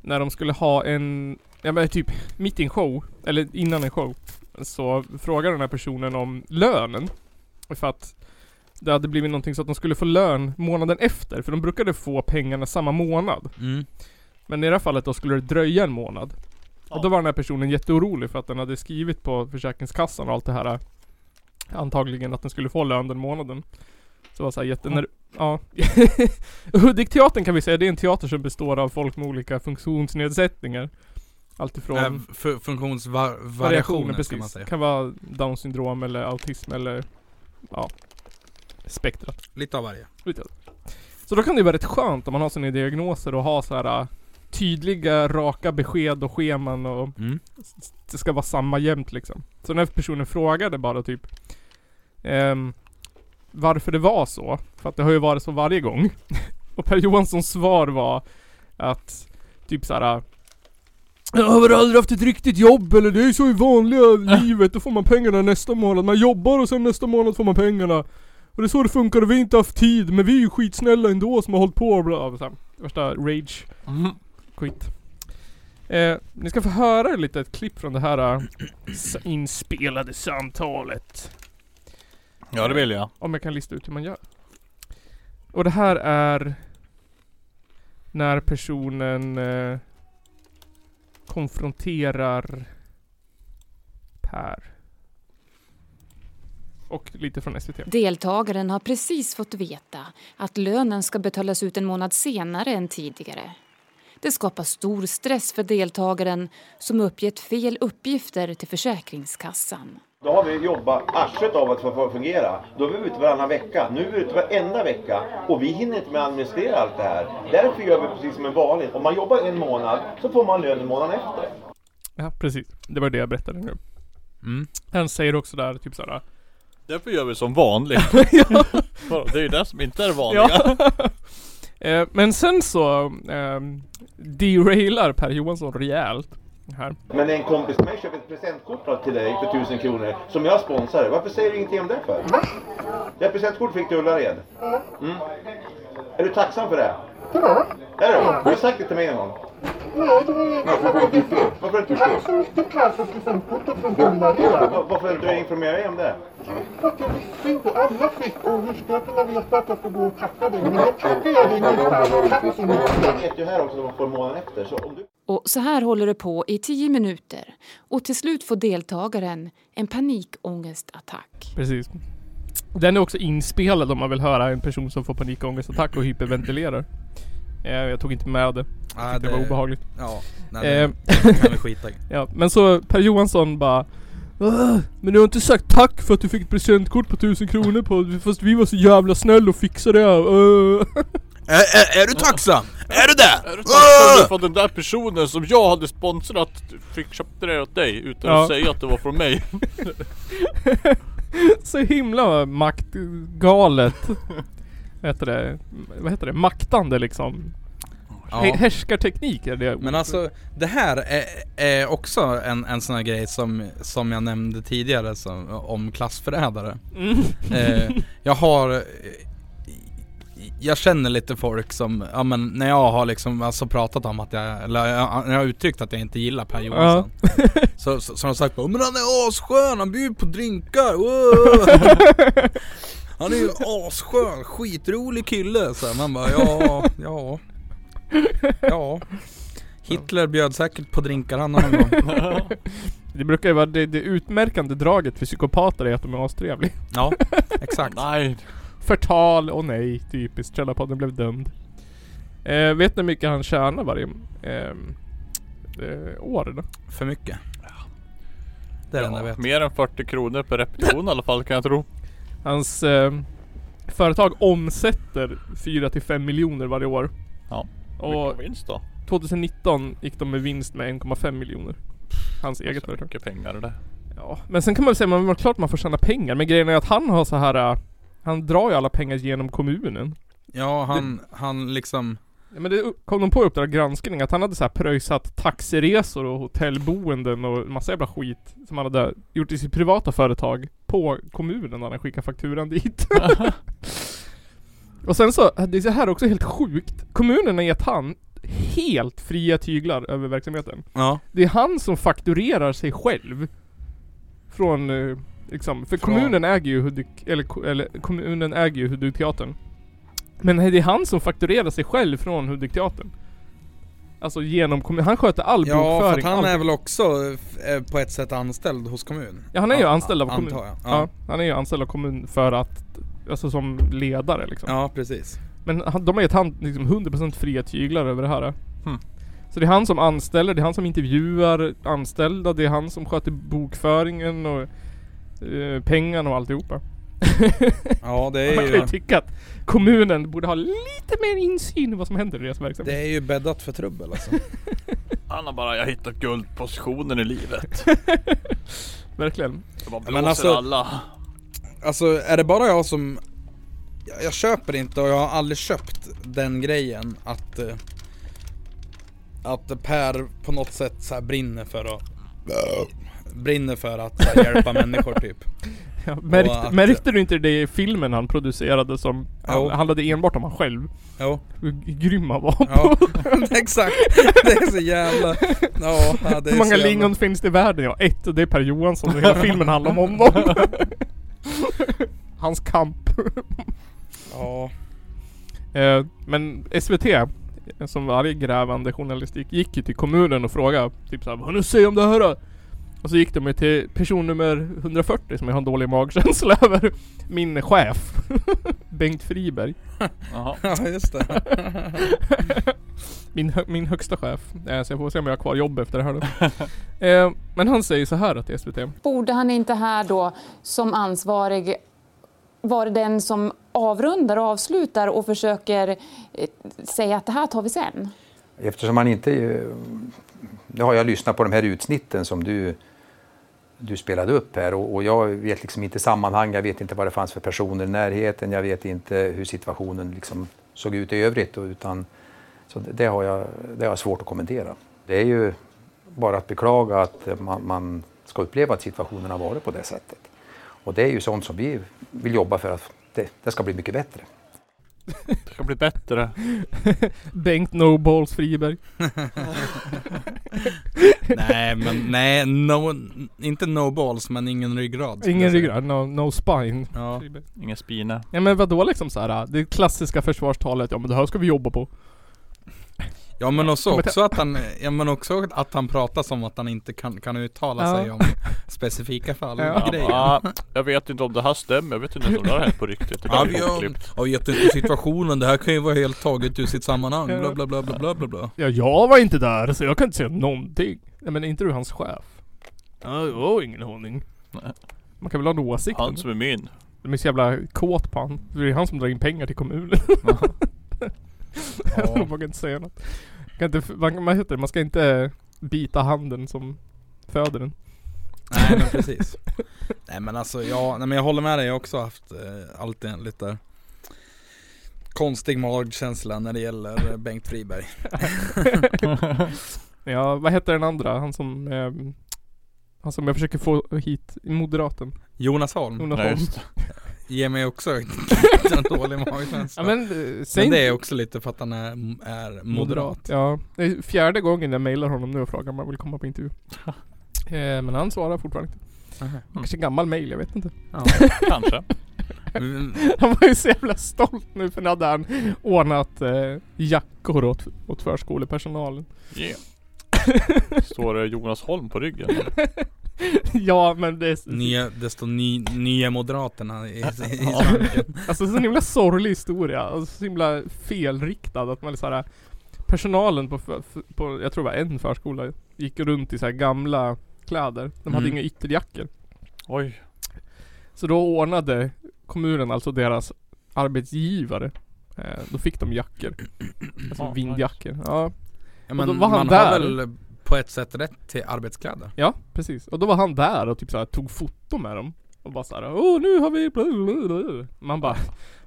Speaker 3: när de skulle ha en, ja men typ mitt i en show, eller innan en show. Så frågade den här personen om lönen. För att det hade blivit någonting så att de skulle få lön månaden efter. För de brukade få pengarna samma månad.
Speaker 2: Mm.
Speaker 3: Men i det här fallet då skulle det dröja en månad.
Speaker 4: Ja.
Speaker 3: Och då var den här personen jätteorolig för att den hade skrivit på Försäkringskassan och allt det här. Antagligen att den skulle få lön den månaden. Så var det så här jättener... Ja. Hudik-teatern kan vi säga, det är en teater som består av folk med olika funktionsnedsättningar. Alltifrån...
Speaker 2: Äh, fu- funktionsvariationer
Speaker 3: Variationer
Speaker 2: ska man
Speaker 3: precis.
Speaker 2: säga.
Speaker 3: Kan vara down syndrom eller autism eller ja, spektrat.
Speaker 2: Lite av varje.
Speaker 3: Lite. Så då kan det ju vara rätt skönt om man har sina diagnoser och ha så här äh, tydliga, raka besked och scheman och
Speaker 2: Mm.
Speaker 3: det ska vara samma jämt liksom. Så den här personen frågade bara typ ehm, varför det var så. För att det har ju varit så varje gång. och Per Johanssons svar var att typ såhär jag har väl aldrig haft ett riktigt jobb eller det är ju så i vanliga livet. Då får man pengarna nästa månad. Man jobbar och sen nästa månad får man pengarna. Och det är så det funkar och vi har inte haft tid. Men vi är ju skitsnälla ändå som har hållit på och bla bla bla. Värsta rage skit. Eh, ni ska få höra lite ett klipp från det här eh, s- inspelade samtalet.
Speaker 4: Ja det vill jag.
Speaker 3: Om jag kan lista ut hur man gör. Och det här är när personen eh, konfronterar Per. Och lite från SVT.
Speaker 10: Deltagaren har precis fått veta att lönen ska betalas ut en månad senare än tidigare. Det skapar stor stress för deltagaren som uppgett fel uppgifter till Försäkringskassan.
Speaker 11: Då har vi jobbat arslet av att få få fungera. Då är vi ute varannan vecka. Nu är vi ute varenda vecka. Och vi hinner inte med att administrera allt det här. Därför gör vi precis som är vanligt. Om man jobbar en månad så får man lönen månaden efter.
Speaker 3: Ja, precis. Det var det jag berättade nu.
Speaker 2: Mm.
Speaker 3: Han säger också där typ såhär
Speaker 4: Därför gör vi som vanligt. Vadå, Det är ju det som inte är det vanliga.
Speaker 3: Ja. Eh, Men sen så ehm, derailar Per Johansson rejält. Här.
Speaker 11: Men en kompis till mig köper ett presentkort till dig för 1000 kronor som jag sponsrar. Varför säger du ingenting om det för? Det presentkort fick du i Ullared. Mm. Är du tacksam för det? Är du? Har du sagt det till mig någon gång? Varför inte? Var- Varför har du inte informerat mig om det? Jag vet ju här också vad man får månaden efter. Så om du...
Speaker 10: Och så här håller det på i tio minuter och till slut får deltagaren en panikångestattack.
Speaker 3: Precis. Den är också inspelad om man vill höra en person som får panikångestattack och hyperventilerar. Eh, Jag tog inte med det.
Speaker 2: Ah,
Speaker 3: Det, det var obehagligt.
Speaker 2: Ja, nej,
Speaker 3: Eh,
Speaker 2: det kan vi skita i.
Speaker 3: Ja, men så Per Johansson bara "Åh, Men du har inte sagt tack för att du fick ett presentkort på 1000 kronor på Fast vi var så jävla snälla och fixade det Åh."
Speaker 2: Är, är, är du tacksam? Är du det? Ah!
Speaker 4: Är det tacksam nu för att den där personen som jag hade sponsrat fick köpte det åt dig utan
Speaker 3: Ja.
Speaker 4: att säga att det var från mig?
Speaker 3: Så himla maktgalet. vad heter det? Vad heter det? Maktande liksom. Hä-
Speaker 2: Ja.
Speaker 3: Härskarteknik är det
Speaker 2: Men alltså, det här är, är också en, en sån här grej som, som jag nämnde tidigare som, om klassförrädare.
Speaker 3: Mm.
Speaker 2: Eh, jag har eh, Jag känner lite folk som, ja men när jag har liksom alltså pratat om att jag, eller jag, när jag har uttryckt att jag inte gillar Per Johansson så, så, så har de sagt "Åh, men han är asskön, han bjuder på drinkar, wow." Han är ju asskön, skitrolig kille så här, man bara ja, ja, ja Hitler bjöd säkert på drinkar han någon gång
Speaker 3: Det brukar ju vara det, det utmärkande draget för psykopater är att de är astrevliga.
Speaker 2: Ja, exakt
Speaker 4: Nej.
Speaker 3: Förtal och nej, typiskt. Källarpodden blev dömd. Eh, vet ni hur mycket han tjänar varje ehm, eh, år? Då?
Speaker 2: För mycket Det är det enda jag vet
Speaker 4: mer än 40 kronor per repetition i alla fall kan jag tro.
Speaker 3: Hans eh, företag omsätter 4-5 miljoner varje år.
Speaker 4: Ja.
Speaker 3: Och
Speaker 4: Vilken vinst då?
Speaker 3: 2019 gick de med vinst med 1,5 miljoner. Hans eget
Speaker 4: Så
Speaker 3: företag.
Speaker 4: mycket pengar det där.
Speaker 3: alltså, Ja. Men sen kan man väl säga, man, klart man får tjäna pengar. Men grejen är att han har så här äh, han drar ju alla pengar genom kommunen.
Speaker 2: Ja, han, han liksom
Speaker 3: Ja, men det upp- kom de på i Uppdrag granskning att han hade så här pröjsat taxiresor och hotellboenden och massa jävla skit som han hade gjort i sitt privata företag på kommunen när han skickade fakturan dit. och sen så, det är så här också helt sjukt. Kommunen har gett han helt fria tyglar över verksamheten.
Speaker 2: Ja.
Speaker 3: Det är han som fakturerar sig själv. Från eh, liksom, för kommunen äger ju Hudik, eller, ko- eller kommunen äger ju Hudikteatern. Men det är han som fakturerar sig själv från Hudikteatern. Alltså genom kommun, han sköter all
Speaker 2: Ja, för att
Speaker 3: bokföring.
Speaker 2: han
Speaker 3: allt.
Speaker 2: är väl också eh, på ett sätt anställd hos kommun?
Speaker 3: Ja han är ju anställd av kommun.
Speaker 2: Antar jag.
Speaker 3: Ja. han är ju anställd av kommun för att, alltså som ledare liksom.
Speaker 2: Ja, precis.
Speaker 3: Men han, de har gett han liksom 100% fria tyglar över det här.
Speaker 4: Hmm.
Speaker 3: Så det är han som anställer, det är han som intervjuar anställda, det är han som sköter bokföringen och eh, pengarna och alltihopa.
Speaker 2: Ja, det är
Speaker 3: Man kan ju
Speaker 2: ju,
Speaker 3: tycka att kommunen borde ha lite mer insyn i vad som händer i deras verksamhet.
Speaker 2: det är ju bäddat för trubbel alltså.
Speaker 4: Han har bara, jag hittat guldpositionen i livet.
Speaker 3: Verkligen.
Speaker 4: Det bara
Speaker 2: Ja, men
Speaker 4: blåser
Speaker 2: alltså-
Speaker 4: alla.
Speaker 2: Alltså är det bara jag som jag, jag köper inte och jag har aldrig köpt den grejen att eh, Att Per på något sätt så här brinner för att Brinner för att så här, hjälpa människor typ
Speaker 3: Ja, märkte,
Speaker 2: Och att-
Speaker 3: märkte du inte det i filmen han producerade som
Speaker 2: Jo.
Speaker 3: han, handlade enbart om han själv?
Speaker 2: Jo.
Speaker 3: Hur grym han var
Speaker 2: Ja,
Speaker 3: på...
Speaker 2: exakt. Det är så jävla... Ja, ja, det är
Speaker 3: Hur många
Speaker 2: så jävla-
Speaker 3: lingon finns det i världen? Ja, ett. och Det är Per Johansson och hela filmen handlar om honom. Hans kamp.
Speaker 2: Ja.
Speaker 3: Eh, Men SVT, som varje grävande journalistik, gick ju till kommunen och frågade typ såhär Vad nu säger om det här då? Och så gick de ju till person nummer 140 som jag har en dålig magkänsla över. Min chef. Bengt Friberg.
Speaker 4: Jaha.
Speaker 2: Ja just det.
Speaker 3: min, hö- min högsta chef. Eh, Så jag får se om jag har kvar jobb efter det här då. Eh, Men han säger så här till SVT.
Speaker 10: Borde han inte här då som ansvarig vara den som avrundar och avslutar och försöker eh, säga att det här tar vi sen?
Speaker 12: Eftersom han inte... eh, Nu har jag lyssnat på de här utsnitten som du, du spelade upp här och, och jag vet liksom inte sammanhang, jag vet inte vad det fanns för personer i närheten, jag vet inte hur situationen liksom såg ut i övrigt. och- Utan, så det- det har, jag, det har jag svårt att kommentera. Det är ju bara att beklaga att man, man ska uppleva att situationen har varit på det sättet. Och det är ju sånt som vi vill jobba för att det, det ska bli mycket bättre.
Speaker 4: Det ska bli bättre.
Speaker 3: Bengt No Balls Friberg.
Speaker 2: Nej men nej, no, inte no balls men ingen ryggrad. skulle
Speaker 3: Ingen
Speaker 2: jag säga.
Speaker 3: ryggrad, Typ. no, no spine.
Speaker 2: Ja.
Speaker 4: Ingen spine.
Speaker 3: Ja men vadå liksom så här? det klassiska försvarstalet, ja men det här ska vi jobba på.
Speaker 2: Ja men också,
Speaker 3: Kommer till-
Speaker 2: också att han, ja, men också att han pratar som att han inte kan, kan uttala
Speaker 3: Ja.
Speaker 2: sig om specifika fall och
Speaker 4: Ja.
Speaker 2: grejer.
Speaker 4: Ja, jag vet inte om det här stämmer. Jag vet inte ens om det här har hänt på riktigt. Det där är påklippt.
Speaker 2: jag vet inte situationen, det här kan ju vara helt taget ur sitt sammanhang, bla bla bla bla bla bla bla.
Speaker 3: Ja jag var inte där så jag kan inte säga någonting. Nej men är inte du hans chef? Ja, jag har ingen aning. Man kan väl ha en åsikt?
Speaker 4: Han som är min.
Speaker 3: De är så jävla kåt på han. Det är han som drar in pengar till kommunen. man kan inte säga något. Man Kan inte, f- man, man, heter det? man ska inte äh, bita handen som föder den.
Speaker 2: Nej men precis. nej men alltså jag, nej, men jag håller med dig, jag har också haft eh, alltid en lite konstig magkänsla när det gäller eh, Bengt Friberg.
Speaker 3: ja, vad heter den andra? Han som... ehm, han som jag försöker få hit, moderaten.
Speaker 2: Jonas Holm.
Speaker 3: Jonas Holm.
Speaker 2: Ger mig också en dålig magkänsla.
Speaker 3: Ja, men, eh, säg
Speaker 2: men det är
Speaker 3: inte-
Speaker 2: också lite för att han är, är moderat.
Speaker 3: Ja, det är fjärde gången jag mailar honom nu och frågar om han vill komma på intervju. eh, men han svarar fortfarande inte.
Speaker 2: Aha.
Speaker 3: Kanske en gammal mail, jag vet inte.
Speaker 2: Ja,
Speaker 4: kanske.
Speaker 3: han var ju så jävla stolt nu för nu hade han ordnat eh, jackor åt, åt förskolepersonalen.
Speaker 4: Yeah. Står det Jonas Holm på ryggen?
Speaker 3: ja men det är...
Speaker 2: Nya, det står ny, Nya Moderaterna i, i, i
Speaker 3: Ja.
Speaker 2: svampen.
Speaker 3: Alltså så himla sorglig historia. Alltså så himla felriktad att man är så här. Personalen på, för- för- på, jag tror det var en förskola, gick runt i så här gamla kläder. De hade
Speaker 4: Mm.
Speaker 3: inga ytterjackor.
Speaker 4: Oj.
Speaker 3: Så då ordnade kommunen, alltså deras arbetsgivare, eh, då fick de jackor. Alltså
Speaker 2: Ja,
Speaker 3: vindjackor. Ja.
Speaker 2: Ja,
Speaker 3: Och
Speaker 2: men
Speaker 3: då var han
Speaker 2: man har
Speaker 3: där.
Speaker 2: väl på ett sätt rätt till arbetskläder?
Speaker 3: Ja, precis. Och då var han där och typ så här, tog foto med dem. Och bara såhär, åh nu har vi... blablabla." Man bara,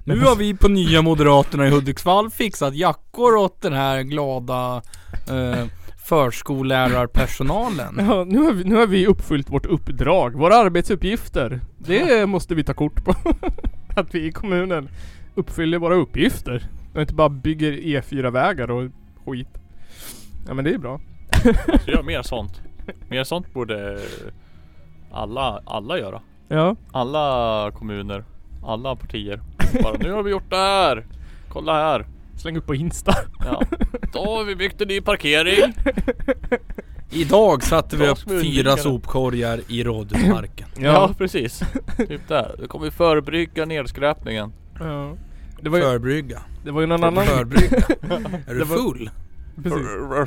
Speaker 2: Nu har vi på Nya Moderaterna i Hudiksvall fixat jackor åt den här glada eh, förskollärarpersonalen.
Speaker 3: Ja, nu har, vi, nu har vi uppfyllt vårt uppdrag, våra arbetsuppgifter. Det måste vi ta kort på. Att vi i kommunen uppfyller våra uppgifter. Och inte bara bygger E4-vägar och skit. Ja men det är bra.
Speaker 4: Så gör mer sånt. Mer sånt borde alla, alla göra.
Speaker 3: Ja.
Speaker 4: Alla kommuner, alla partier. Bara nu har vi gjort det här! Kolla här!
Speaker 3: Släng upp på Insta.
Speaker 4: Ja. Då har vi byggt en ny parkering.
Speaker 2: Idag satte vi
Speaker 4: Idag
Speaker 2: upp
Speaker 4: ska vi undvika
Speaker 2: fyra
Speaker 4: det.
Speaker 2: sopkorgar i Rådhusparken.
Speaker 4: Ja, precis. Typ där. Då kommer vi förebygga nedskräpningen.
Speaker 3: Ja. Det var ju,
Speaker 2: Förbrygga.
Speaker 3: det var ju någon annan...
Speaker 2: Förbrygga. Är
Speaker 3: Det
Speaker 2: du
Speaker 3: var-
Speaker 2: full?
Speaker 3: Precis.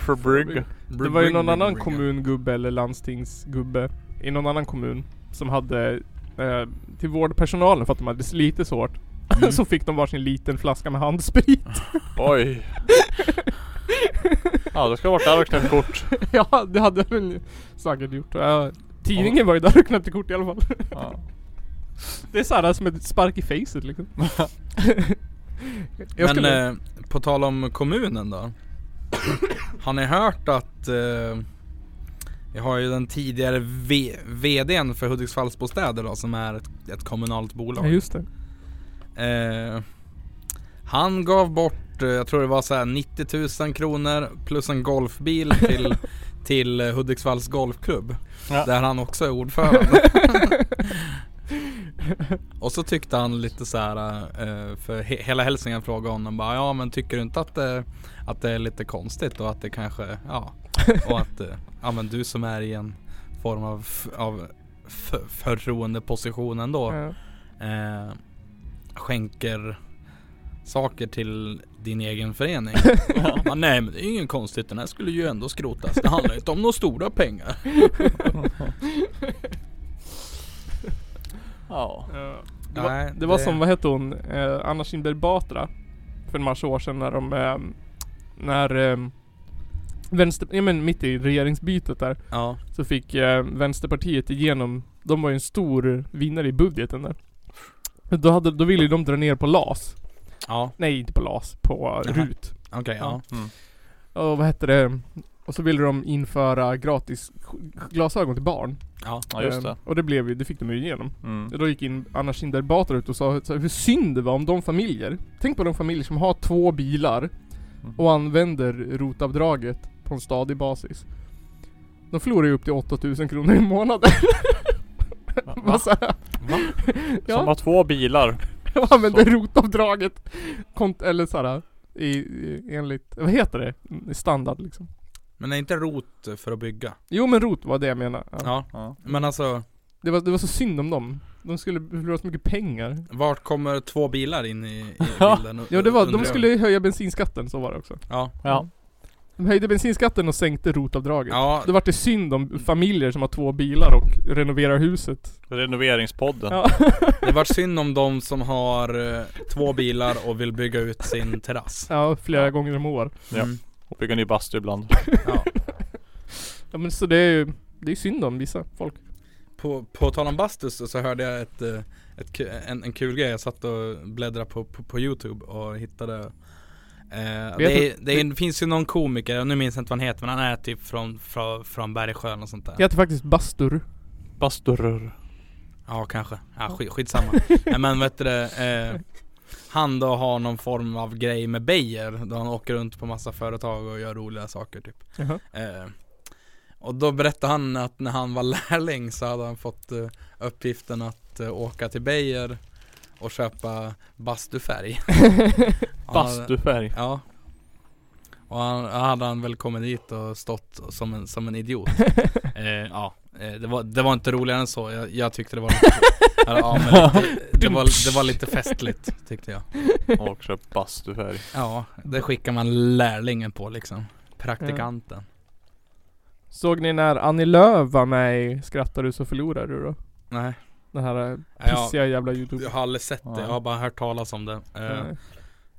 Speaker 4: Förbrygga.
Speaker 3: Det var ju någon annan kommungubbe eller landstingsgubbe i någon annan kommun som hade eh, till vårdpersonalen för att de hade slitit så hårt. så fick de varsin liten flaska med handsprit.
Speaker 4: Oj. Ja, då ska jag varit där och knäppt kort.
Speaker 3: ja, det hade väl säkert gjort. Uh, tidningen var ju där och knäppte kort i alla fall.
Speaker 4: Ja.
Speaker 3: det är såhär som ett spark i facet liksom. Jag
Speaker 2: Men
Speaker 3: skulle-
Speaker 2: eh, på tal om kommunen då. Har ni hört att eh, vi har ju den tidigare v- VDn för Hudiksvallsbostäder då som är ett, ett kommunalt bolag.
Speaker 3: Ja just det.
Speaker 2: Eh, han gav bort, eh, jag tror det var så här 90 000 kronor plus en golfbil till, till eh, Hudiksvalls golfklubb.
Speaker 4: Ja.
Speaker 2: Där han också är ordförande. Och så tyckte han lite så här, eh, för he- hela Hälsingland frågade honom bara, ja men tycker du inte att det, att det är lite konstigt och att det kanske, ja. Och att, eh, ja men du som är i en form av, f- av f- förtroendeposition ändå.
Speaker 3: Ja.
Speaker 2: Eh, skänker saker till din egen förening. Ja, nej men det är ju inget konstigt, den här skulle ju ändå skrotas. Det handlar ju inte om några stora pengar.
Speaker 4: Ja.
Speaker 3: Ja. Det,
Speaker 2: Nej,
Speaker 3: var, det var
Speaker 2: det-
Speaker 3: som, vad hette hon, eh, Anna Kinberg Batra. För en massa år sedan när de, eh, när eh, Vänster, ja men mitt i regeringsbytet där.
Speaker 2: Ja.
Speaker 3: Så fick eh, Vänsterpartiet igenom, de var ju en stor vinnare i budgeten där. Men Då, hade, då ville ju de dra ner på LAS.
Speaker 2: Ja.
Speaker 3: Nej inte på LAS, på
Speaker 2: Jaha.
Speaker 3: RUT.
Speaker 2: Okej, ja.
Speaker 4: Mm.
Speaker 3: Och vad hette det? Och så ville de införa gratis sk- glasögon till barn.
Speaker 2: Ja.
Speaker 4: Ja just det.
Speaker 3: Ehm, Och det blev ju, det fick de ju igenom.
Speaker 4: Mm.
Speaker 3: Och Då gick in Anna Kinberg Batra ut och sa så här, hur synd det var om de familjer. Tänk på de familjer som har två bilar och använder rotavdraget på en stadig basis. De förlorar ju upp till 8000 kronor i månaden.
Speaker 4: Va?
Speaker 3: Vad sa jag?
Speaker 4: Som
Speaker 3: Ja,
Speaker 4: har två bilar.
Speaker 3: och använder rotavdraget. Kont- eller såhär, i, i, enligt, vad heter det? I Standard liksom.
Speaker 2: Men är inte rot för att bygga?
Speaker 3: Jo men rot var det jag menade. Ja.
Speaker 2: Ja.
Speaker 4: Ja.
Speaker 2: Men alltså,
Speaker 3: Det, var, det var så synd om dem. De skulle förlora så mycket pengar.
Speaker 2: vart kommer två bilar in i, i bilden?
Speaker 3: Ja det var,
Speaker 2: undrar
Speaker 3: de
Speaker 2: jag.
Speaker 3: skulle höja bensinskatten, så var det också.
Speaker 2: Ja.
Speaker 4: Ja.
Speaker 3: De höjde bensinskatten och sänkte rotavdraget.
Speaker 2: Ja.
Speaker 3: Då vart det synd om familjer som har två bilar och renoverar huset.
Speaker 4: Renoveringspodden.
Speaker 3: Ja.
Speaker 2: Det var synd om de som har eh, två bilar och vill bygga ut sin terrass.
Speaker 3: ja, flera gånger om år.
Speaker 4: Ja.
Speaker 2: Mm.
Speaker 4: Och bygga ny bastu ibland.
Speaker 2: Ja.
Speaker 3: Ja men så det är ju, det är synd om vissa folk.
Speaker 2: På, på tal om bastus så hörde jag ett, eh, ett, ku- en, en kul grej. Jag satt och bläddrade på, på, på youtube och hittade eh, det, är,
Speaker 3: du-
Speaker 2: det är, finns ju någon komiker, jag nu minns jag inte vad han heter men han är typ från, från, från Bergsjön och sånt där
Speaker 3: Det heter faktiskt bastur.
Speaker 4: Basturr.
Speaker 2: Ja kanske, ja, sk- skitsamma Nej, Men vet du det, eh, Han då har någon form av grej med Beijer Då han åker runt på massa företag och gör roliga saker typ
Speaker 3: Jaha.
Speaker 2: eh, Och då berättade han att när han var lärling så hade han fått eh, uppgiften att eh, åka till Beijer Och köpa bastufärg Och han hade-
Speaker 4: Bastufärg.
Speaker 2: Ja Och han, hade han väl kommit dit och stått som en, som en idiot eh, Ja, eh, det var, det var inte roligare än så Jag, jag tyckte det var lite, eller, ja, men lite det, var, det var lite festligt tyckte jag
Speaker 4: Och köp bastufärg.
Speaker 2: Ja, det skickar man lärlingen på liksom Praktikanten
Speaker 3: Såg ni när Annie Lööf var med i Skrattar du så förlorar du då?
Speaker 2: Nej
Speaker 3: Den här eh,
Speaker 2: Ja,
Speaker 3: pissiga jävla youtube.
Speaker 2: jag har aldrig sett det, jag har bara hört talas om det eh,
Speaker 3: Eh,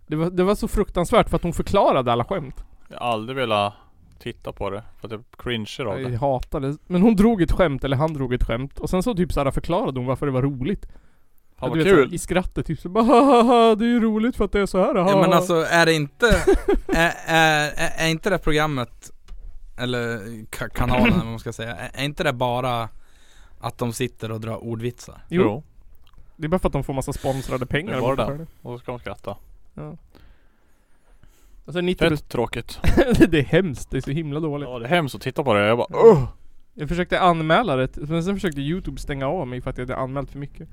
Speaker 3: Det var, det var så fruktansvärt för att hon förklarade alla skämt.
Speaker 4: Jag har aldrig velat titta på det. För att jag cringear av
Speaker 3: Jag
Speaker 4: det.
Speaker 3: hatade Men hon drog ett skämt, eller han drog ett skämt. Och sen så typ såhär förklarade hon varför det var roligt.
Speaker 4: Ja, vad
Speaker 3: du vet, så här,
Speaker 4: kul.
Speaker 3: I skrattet typ så bara "Hahaha, det är ju roligt för att det är så här.
Speaker 2: Ja, men
Speaker 3: haha."
Speaker 2: alltså är det inte, är, är, är, är inte det programmet, eller ka- kanalen eller vad man ska säga, är, är inte det bara att de sitter och drar ordvitsar?
Speaker 3: Jo. Det är bara för att de får massa sponsrade pengar.
Speaker 4: Det var
Speaker 3: bara
Speaker 4: det
Speaker 3: för
Speaker 4: där. Och så ska de skratta.
Speaker 3: Ja. Alltså 90
Speaker 4: Fett tråkigt.
Speaker 3: det är hemskt. Det är så himla dåligt.
Speaker 4: Ja det är hemskt att titta på det. Jag bara Ugh!
Speaker 3: Jag försökte anmäla det, men sen försökte youtube stänga av mig för att jag hade anmält för mycket.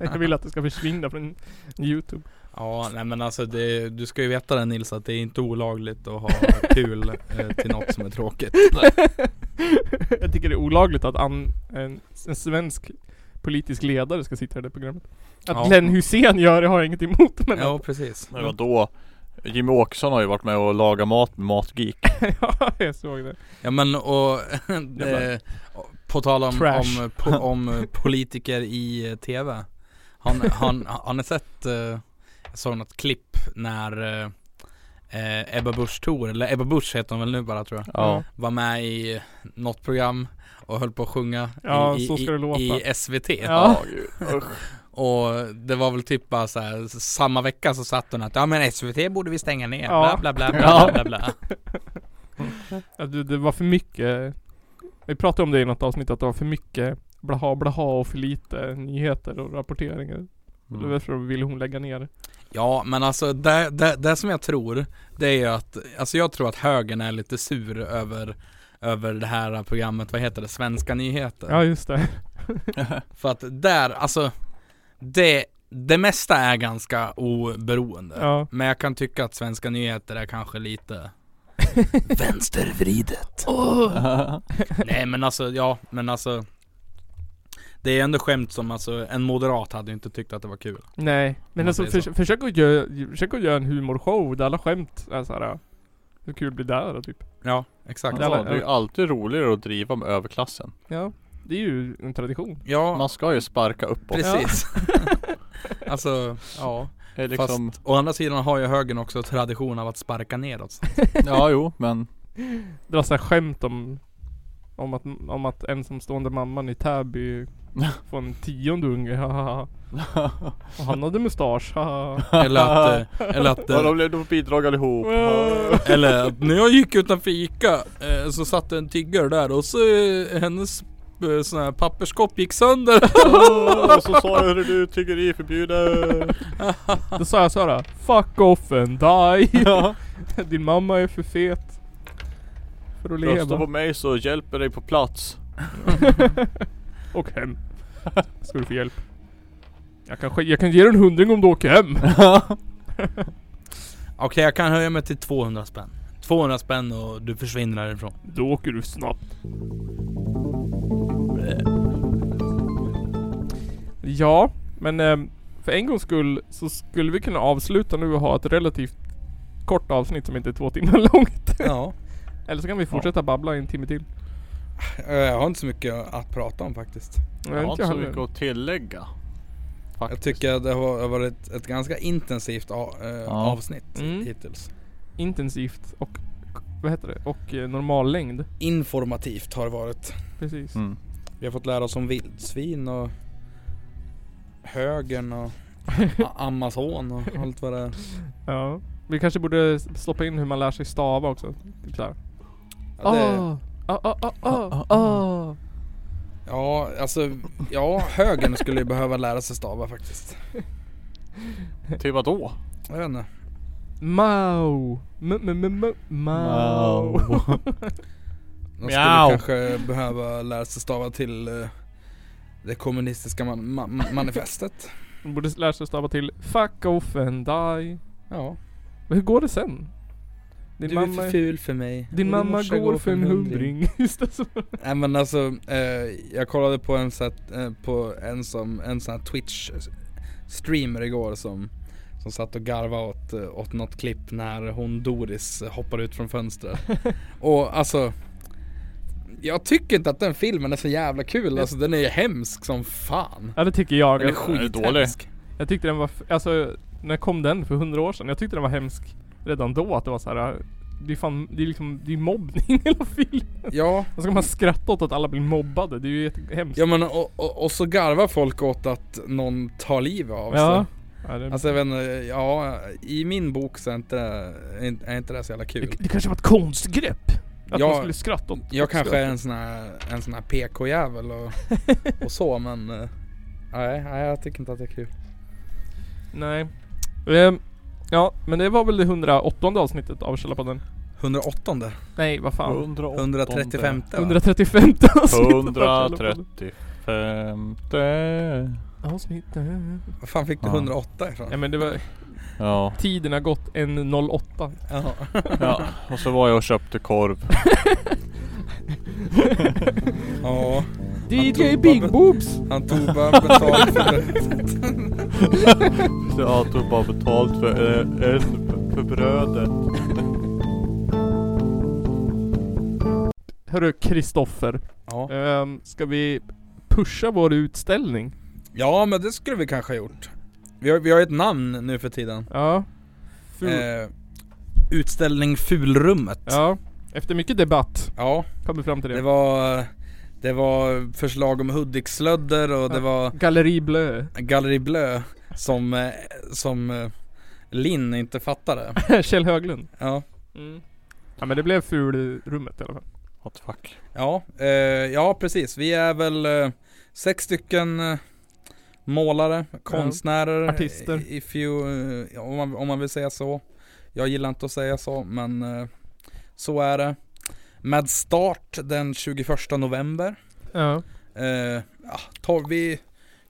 Speaker 3: jag vill att det ska försvinna från youtube.
Speaker 2: Ja, nej men alltså det, du ska ju veta det Nils att det är inte olagligt att ha kul eh, till något som är tråkigt.
Speaker 3: jag tycker det är olagligt att an, en, en svensk politisk ledare ska sitta i det programmet. Att
Speaker 2: Ja.
Speaker 3: Glenn Hussein gör det har jag inget emot men
Speaker 2: Ja, precis.
Speaker 4: Men vadå? Jimmy Åkesson har ju varit med och lagat mat med Matgeek.
Speaker 3: ja, jag såg det.
Speaker 2: Ja men och, det, på tal om,
Speaker 3: Trash.
Speaker 2: om, po, om politiker i eh, TV. Han, han, han har sett, eh, jag såg något klipp när eh, eh, Ebba Busch Thor, eller Ebba Busch heter hon väl nu bara tror jag.
Speaker 4: Ja.
Speaker 2: Var med i något program och höll på att sjunga
Speaker 3: Ja,
Speaker 2: i, i,
Speaker 3: så ska det låta.
Speaker 2: i, i SVT.
Speaker 3: Ja.
Speaker 2: och det var väl typ bara så här, samma vecka så satt hon att ja men SVT borde vi stänga ner,
Speaker 3: Ja.
Speaker 2: bla bla bla
Speaker 3: Ja.
Speaker 2: bla bla bla.
Speaker 3: Ja, det, det var för mycket. Vi pratade om det i något avsnitt att det var för mycket blaha blaha och för lite nyheter och rapporteringar.
Speaker 2: Mm.
Speaker 3: Och Det var därför ville hon lägga ner det.
Speaker 2: Ja men alltså det, det, det som jag tror Det är ju att Alltså jag tror att högern är lite sur över Över det här programmet, vad heter det? Svenska nyheter
Speaker 3: Ja just det.
Speaker 2: För att där, alltså Det, det mesta är ganska oberoende
Speaker 3: Ja.
Speaker 2: Men jag kan tycka att svenska nyheter är kanske lite Vänstervridet
Speaker 3: Åh.
Speaker 2: Nej men alltså, ja men alltså Det är ändå skämt som alltså En moderat hade ju inte tyckt att det var kul
Speaker 3: Nej,
Speaker 2: Om man
Speaker 3: men alltså
Speaker 2: säger så.
Speaker 3: förs försök, att göra, försök att göra en humorshow där alla skämt är såhär Hur kul blir det här då typ?
Speaker 2: Ja, exakt.
Speaker 3: Där alla,
Speaker 4: Ja, det är ju alltid roligare att driva med överklassen.
Speaker 3: ja, det är ju en tradition.
Speaker 2: Ja.
Speaker 4: Man ska ju sparka uppåt.
Speaker 2: Precis. alltså, ja.
Speaker 4: Det är liksom-
Speaker 2: Fast å andra sidan har ju högern också tradition av att sparka neråt. så att-
Speaker 4: Ja, jo, men...
Speaker 3: Det var såhär skämt om om att, om att ensamstående mamman i Täby får en tionde unge, hahaha. Och han hade mustasch, hahaha.
Speaker 2: Eller att, eh, eller att... eh,
Speaker 4: Ja, de blev de bidrag allihop.
Speaker 2: eller att när jag gick utanför Ica eh, så satt en tiggare där och så eh, hennes eh, sån här papperskopp gick sönder.
Speaker 4: Och så sa jag du tiggeri förbjudet.
Speaker 3: Då sa jag såhär, fuck off and die. Din mamma är för fet. För att leva.
Speaker 4: Rösta på mig så hjälper dig på plats.
Speaker 3: Och hem. Ska du få hjälp. Jag kan, sk- jag kan ge dig en hundring om du åker hem.
Speaker 2: Okej jag kan höja mig till 200 spänn. 200 spänn och du försvinner härifrån.
Speaker 3: Då åker du snabbt. ja, men ehm, för en gångs skull så skulle vi kunna avsluta nu och ha ett relativt kort avsnitt som inte är två timmar långt.
Speaker 2: Ja.
Speaker 3: Eller så kan vi fortsätta babbla en timme till.
Speaker 2: Eh, Jag har inte så mycket att prata om faktiskt.
Speaker 4: Jag har inte så mycket att tillägga.
Speaker 2: Jag tycker att det har varit ett, ett ganska intensivt a, eh, avsnitt
Speaker 3: Mm.
Speaker 2: hittills.
Speaker 3: Intensivt och k- vad heter det? Och eh, normal längd.
Speaker 2: Informativt har det varit.
Speaker 3: Precis.
Speaker 2: Mm. Vi har fått lära oss om vildsvin och högern och a- Amazon och allt vad det är.
Speaker 3: Ja. Vi kanske borde stoppa in hur man lär sig stava också. Typ såhär.
Speaker 2: Ja, det-
Speaker 3: Ah, ah, ah, ah, ah, ah.
Speaker 2: Ja, alltså ja, högern skulle ju behöva lära sig stava faktiskt.
Speaker 4: Till vad då?
Speaker 2: Jag vet inte.
Speaker 3: Mau. M- m- m- m- Mau.
Speaker 4: Mau.
Speaker 2: De skulle
Speaker 4: Mjau.
Speaker 2: kanske behöva lära sig stava till eh, det kommunistiska man, ma- manifestet.
Speaker 3: De borde lära sig stava till Fuck off and die.
Speaker 2: Ja.
Speaker 3: Men hur går det sen? Din
Speaker 2: du är
Speaker 3: mamma
Speaker 2: för ful för mig.
Speaker 3: Din
Speaker 2: Och din
Speaker 3: mamma
Speaker 2: morsa
Speaker 3: går för en hundring. Just det så.
Speaker 2: Nej men alltså, eh, jag kollade på en, sätt, eh, på en, som, en sån här Twitch streamer igår som, som satt och garvade åt, eh, åt något klipp när hon Doris hoppar ut från fönstret. och alltså, jag tycker inte att den filmen är så jävla kul, alltså den är ju hemsk som fan.
Speaker 3: Ja det tycker jag.
Speaker 2: Den är
Speaker 3: Alltså,
Speaker 2: skithemsk.
Speaker 3: Jag tyckte den var, f- alltså när kom den för hundra år sedan? Jag tyckte den var hemsk redan då att det var så här. det är fan, det är liksom, det är mobbning hela filmen.
Speaker 2: Ja.
Speaker 3: Och så ska man skratta åt att alla blir mobbade, det är ju jättehemskt.
Speaker 2: Ja men och, och, och så garvar folk åt att någon tar livet av sig.
Speaker 3: Ja. Ja, det-
Speaker 2: Alltså jag vet inte, ja i min bok så är inte det, är inte det så jävla kul.
Speaker 3: Det kanske var ett konstgrepp? Att
Speaker 2: Jag-
Speaker 3: man skulle skratta åt
Speaker 2: Jag
Speaker 3: åt
Speaker 2: kanske
Speaker 3: skratt.
Speaker 2: är en sån här, en sån här PK-jävel och, och så men... eh, Nej, nej jag tycker inte att det är kul.
Speaker 3: Nej. Ehm, ja, men det var väl det 108 avsnittet av Källarpodden.
Speaker 2: 108
Speaker 3: Nej, vad fan.
Speaker 2: 108. 135.
Speaker 3: 135 avsnittet av Källarpodden.
Speaker 4: 135
Speaker 3: Avsnittet.
Speaker 2: Vad fan fick du
Speaker 4: Ja.
Speaker 2: 108 ifrån?
Speaker 3: Ja men det var...
Speaker 4: Ja.
Speaker 3: Tiden har gått en 08.
Speaker 2: Ja.
Speaker 4: Ja, och så var jag och köpte korv.
Speaker 2: Ja.
Speaker 3: DJ Big Boobs.
Speaker 2: Han tog bara betalt för det.
Speaker 4: Jag tog bara betalt för, eh, en, för brödet.
Speaker 3: Hörru Kristoffer. Ehm,
Speaker 2: Ja.
Speaker 3: ska vi pusha vår utställning?
Speaker 2: Ja men det skulle vi kanske ha gjort. Vi har, vi har ju ett namn nu för tiden.
Speaker 3: Ja. Ful-
Speaker 2: Eh, utställning Fulrummet.
Speaker 3: Ja. Efter mycket debatt.
Speaker 2: Ja.
Speaker 3: Kom vi fram till det.
Speaker 2: Det var, det var förslag om Hudik-slödder och det
Speaker 3: Ja.
Speaker 2: var
Speaker 3: Galleri Blö.
Speaker 2: Galleri Blö som, eh, som eh, Linn inte fattade.
Speaker 3: Kjell Höglund.
Speaker 2: Ja.
Speaker 3: Mm. Ja men det blev fulrummet i alla fall.
Speaker 4: What the fuck.
Speaker 2: Ja, eh, ja precis. Vi är väl eh, sex stycken eh, målare, konstnärer,
Speaker 3: Artister.
Speaker 2: i- If you, eh, om, man, om man vill säga så. Jag gillar inte att säga så, men eh, så är det. Med start den 21 november.
Speaker 3: Ja.
Speaker 2: Eh, ja, tar vi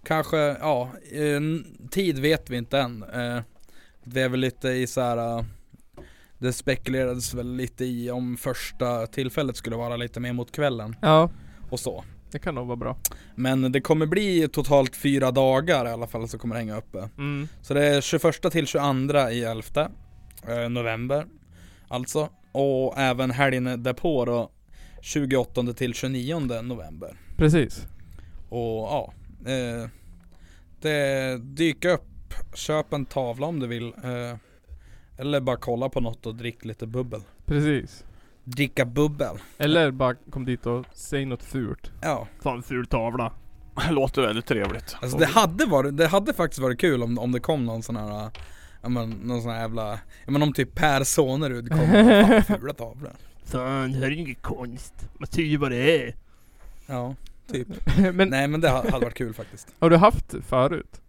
Speaker 2: kanske, ja, eh, n- tid vet vi inte än. Eh, det är väl lite i så här. eh, det spekulerades väl lite i om första tillfället skulle vara lite mer mot kvällen.
Speaker 3: Ja.
Speaker 2: Och så.
Speaker 3: Det kan nog vara bra.
Speaker 2: Men det kommer bli totalt fyra dagar i alla fall som kommer hänga uppe.
Speaker 3: Mm.
Speaker 2: Så det är 21 till 22 i 11 eh, november. Alltså. Och även helgen därpå då 28 till 29 november.
Speaker 3: Precis.
Speaker 2: Och ja, eh, det dyker upp. Köp en tavla om du vill. Eh, eller bara kolla på något och drick lite bubbel.
Speaker 3: Precis.
Speaker 2: Dricka bubbel.
Speaker 3: Eller bara kom dit och säg något fult.
Speaker 2: Ja.
Speaker 3: Ta en ful tavla.
Speaker 4: Låter väldigt trevligt.
Speaker 2: Alltså det hade, varit, det hade faktiskt varit kul om, om det kom någon sån här, ja men någon sån här jävla, ja men om typ Per Sonerud kom och "Fan, fula tavlor.
Speaker 3: Fan, det här är ju ingen konst. Man ser ju vad det är.
Speaker 2: Ja, typ.
Speaker 3: Men-
Speaker 2: Nej men det ha- hade varit kul faktiskt.
Speaker 3: Har du haft förut?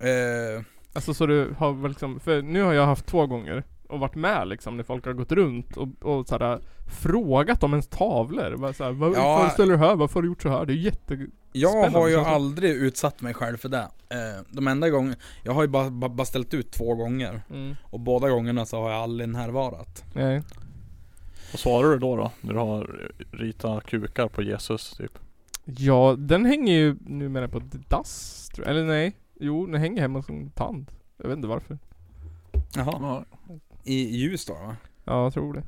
Speaker 2: Eh,
Speaker 3: Alltså så du har väl liksom, för nu har jag haft två gånger och varit med liksom när folk har gått runt och, och såhär frågat om ens tavlor. Bara såhär, varför
Speaker 2: Ja.
Speaker 3: ställer du här? Varför har du gjort så här? Det är jätte...
Speaker 2: Jag
Speaker 3: Spännande
Speaker 2: har ju
Speaker 3: känsla.
Speaker 2: aldrig utsatt mig själv för det. Eh, De enda gångerna, jag har ju bara, bara, bara ställt ut två gånger.
Speaker 3: Mm.
Speaker 2: Och båda gångerna så har jag aldrig närvarat.
Speaker 3: Nej.
Speaker 4: Vad svarar du då då? När du har ritat kukar på Jesus typ.
Speaker 3: Ja, den hänger ju numera på ett dass, tror jag. Eller nej. Jo, den hänger hemma hos en tant. Jag vet inte varför.
Speaker 2: Jaha. I Ljusdal va?
Speaker 3: Ja, jag tror det.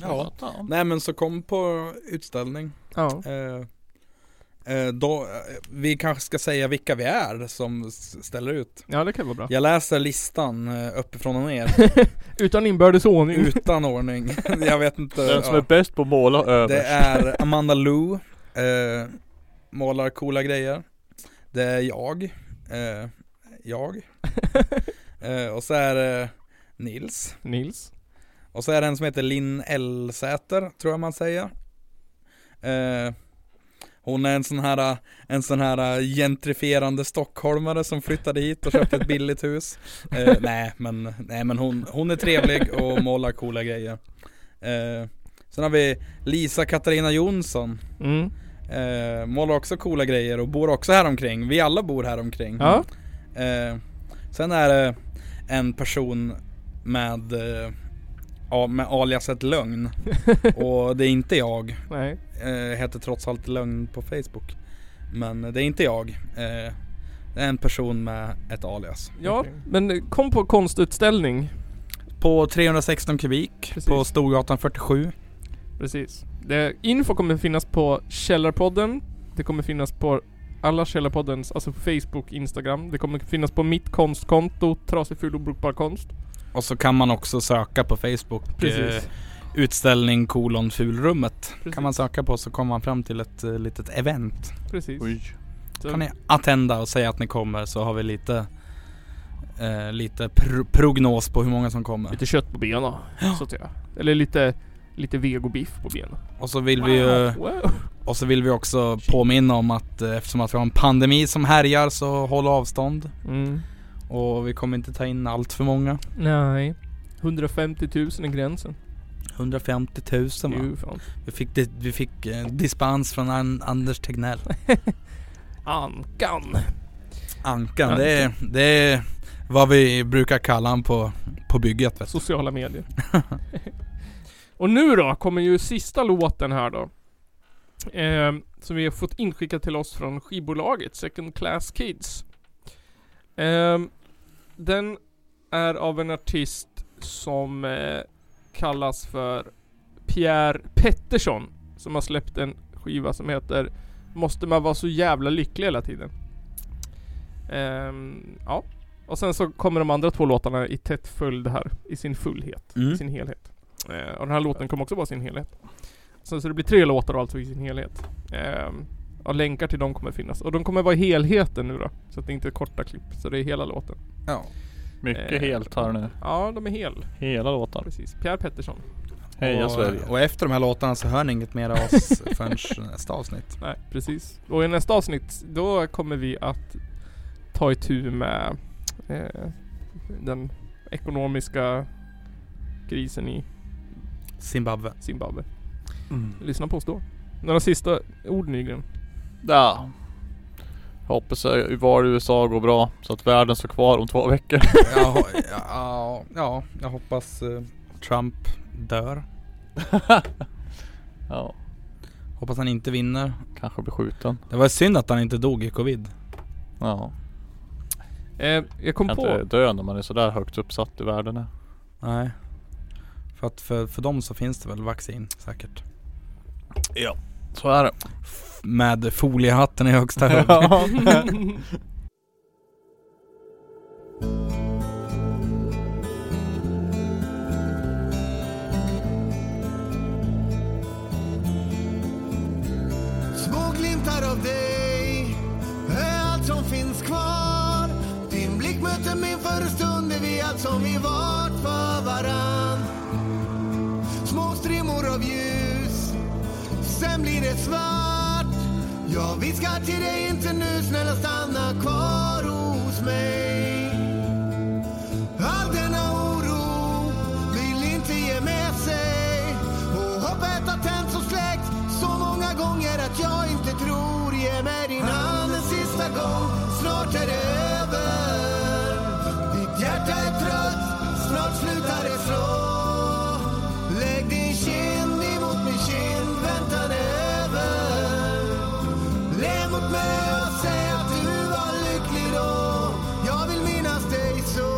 Speaker 2: Ja. Nej men så kom på utställning.
Speaker 3: Ja.
Speaker 2: Eh, eh, då, eh, vi kanske ska säga vilka vi är som s- ställer ut.
Speaker 3: Ja, det kan vara bra.
Speaker 2: Jag läser listan eh, uppifrån och ner.
Speaker 3: Utan inbördes ordning.
Speaker 2: Utan ordning. Jag vet inte.
Speaker 4: Den som är bäst på att måla överst.
Speaker 2: Det är Amanda Lou. Eh, målar coola grejer. Det är jag. Eh, jag. Eh, och så är det Nils.
Speaker 3: Nils.
Speaker 2: Och så är det en som heter Linn Elsäter, tror jag man säger. Eh, hon är en sån här, en sån här gentrifierande stockholmare som flyttade hit och köpte ett billigt hus. Eh, nej men, nej, men hon, hon är trevlig och målar coola grejer. Eh, sen har vi Lisa Katarina Jonsson.
Speaker 3: Mm.
Speaker 2: Eh, målar också coola grejer och bor också här omkring. Vi alla bor här omkring.
Speaker 3: Ja.
Speaker 2: Eh, sen är det en person med, eh, ja, med aliaset Lögn. och det är inte jag.
Speaker 3: Nej.
Speaker 2: Eh, heter trots allt Lögn på Facebook. Men det är inte jag. Eh, det är en person med ett alias.
Speaker 3: Ja, men kom på konstutställning.
Speaker 2: På 316 kubik på Storgatan 47.
Speaker 3: Precis. Det, info kommer finnas på Källarpodden. Det kommer finnas på alla Källarpoddens, alltså Facebook, Instagram. Det kommer finnas på mitt konstkonto, Trasig, ful och brukbar konst.
Speaker 2: Och så kan man också söka på Facebook.
Speaker 3: Precis.
Speaker 2: eh, Utställning kolon fulrummet kan man söka på så kommer man fram till ett eh, litet event.
Speaker 3: Precis.
Speaker 4: Eh.
Speaker 3: Så-
Speaker 2: Kan ni attenda och säga att ni kommer så har vi lite, eh, lite pr- prognos på hur många som kommer.
Speaker 3: Lite kött på benen. Så att säga. Eller lite, lite vegobiff på benen.
Speaker 2: Och så vill vi ju...
Speaker 3: Wow.
Speaker 2: Och så vill vi också påminna om att eh, eftersom att vi har en pandemi som härjar så håll avstånd.
Speaker 3: Mm.
Speaker 2: Och vi kommer inte ta in allt för många.
Speaker 3: Nej. 150 000 är gränsen.
Speaker 2: 150 000
Speaker 3: Jo,
Speaker 2: va?
Speaker 3: fan.
Speaker 2: Vi fick, di- vi fick eh, dispens från An- Anders Tegnell.
Speaker 3: Ankan.
Speaker 2: Ankan, det är, det är vad vi brukar kalla han på, på bygget. Vet du.
Speaker 3: Sociala medier. Och nu då kommer ju sista låten här då. Eh, som vi har fått inskickad till oss från skivbolaget Second Class Kids. Eh, den är av en artist som eh, kallas för Pierre Pettersson. Som har släppt en skiva som heter Måste man vara så jävla lycklig hela tiden? Ehm, ja. Och sen så kommer de andra två låtarna i tätt följd här. I sin fullhet.
Speaker 2: Mm.
Speaker 3: I sin helhet. Eh, och den här låten kommer också vara i sin helhet. Sen så det blir tre låtar alltså i sin helhet. Ehm, och länkar till dem kommer finnas. Och de kommer vara i helheten nu då. Så att det inte är korta klipp. Så det är hela låten.
Speaker 2: Ja.
Speaker 4: Mycket
Speaker 3: Eh,
Speaker 4: helt här nu.
Speaker 3: Ja, de är hel.
Speaker 4: Hela låtar.
Speaker 3: Precis. Pierre Pettersson.
Speaker 4: Heja
Speaker 2: och,
Speaker 4: Sverige.
Speaker 2: och efter de här låtarna så hör ni inget mer av oss förrän nästa avsnitt.
Speaker 3: Nej, precis. Och i nästa avsnitt, då kommer vi att ta itu med eh, den ekonomiska krisen i
Speaker 2: Zimbabwe.
Speaker 3: Zimbabwe. Lyssna på oss då. Några sista ord Nygren?
Speaker 4: Ja. Hoppas jag var i USA går bra så att världen står kvar om två veckor.
Speaker 2: Ja, ja, ja, jag hoppas eh, Trump dör.
Speaker 4: ja.
Speaker 2: Hoppas han inte vinner.
Speaker 4: Kanske blir skjuten.
Speaker 2: Det var synd att han inte dog i covid.
Speaker 4: Ja.
Speaker 3: Eh, jag kom
Speaker 4: Kan
Speaker 3: på...
Speaker 4: inte dö när man är sådär högt uppsatt i världen. är.
Speaker 2: Nej. För att för, för dem så finns det väl vaccin säkert.
Speaker 4: Ja, så är det.
Speaker 2: Med foliehatten i högsta hugg.
Speaker 4: Ja.
Speaker 13: Små glimtar av dig är allt som finns kvar Din blick mötte min för en stund är vi allt som vi vart för varann Små strimmor av ljus, sen blir det svart Jag viskar till dig inte nu, snälla stanna kvar hos mig All denna oro vill inte ge med sig Och hoppet har tänts och släckt så många gånger att jag inte tror Ge mig din hand en sista gång, snart är det över Ditt hjärta är trött, snart slutar det slå Lägg din kind emot min kind, väntan är över Le mot mig och säg att du var lycklig då Jag vill minnas dig så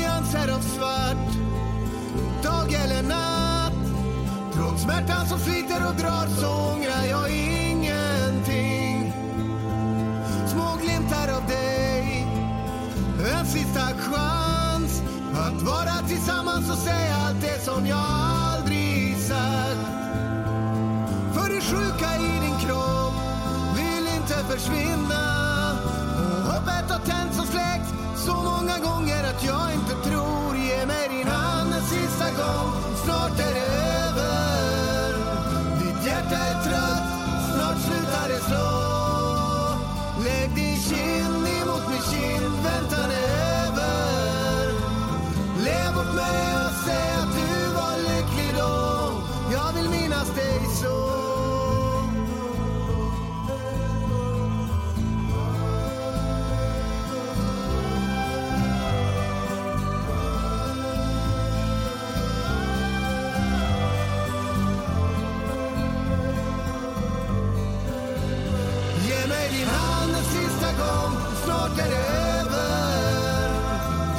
Speaker 13: Nyanser av svart Dag eller natt Trots smärtan som sliter och drar så ångrar jag ingenting Små glimtar av dig en sista chans att vara tillsammans och säga allt det som jag aldrig sagt. För det sjuka i din kropp vill inte försvinna. Och hoppet har tänts och släckt så många gånger att jag inte tror. Ge mig din hand en sista gång, snart är det över. Ditt hjärta är trött, snart slutar det slå. Lägg din kind emot min kind, väntan är över Lev åt mig och säg att du var lycklig då Jag vill minnas dig så Ge mig din hand en sista gång, snart är det över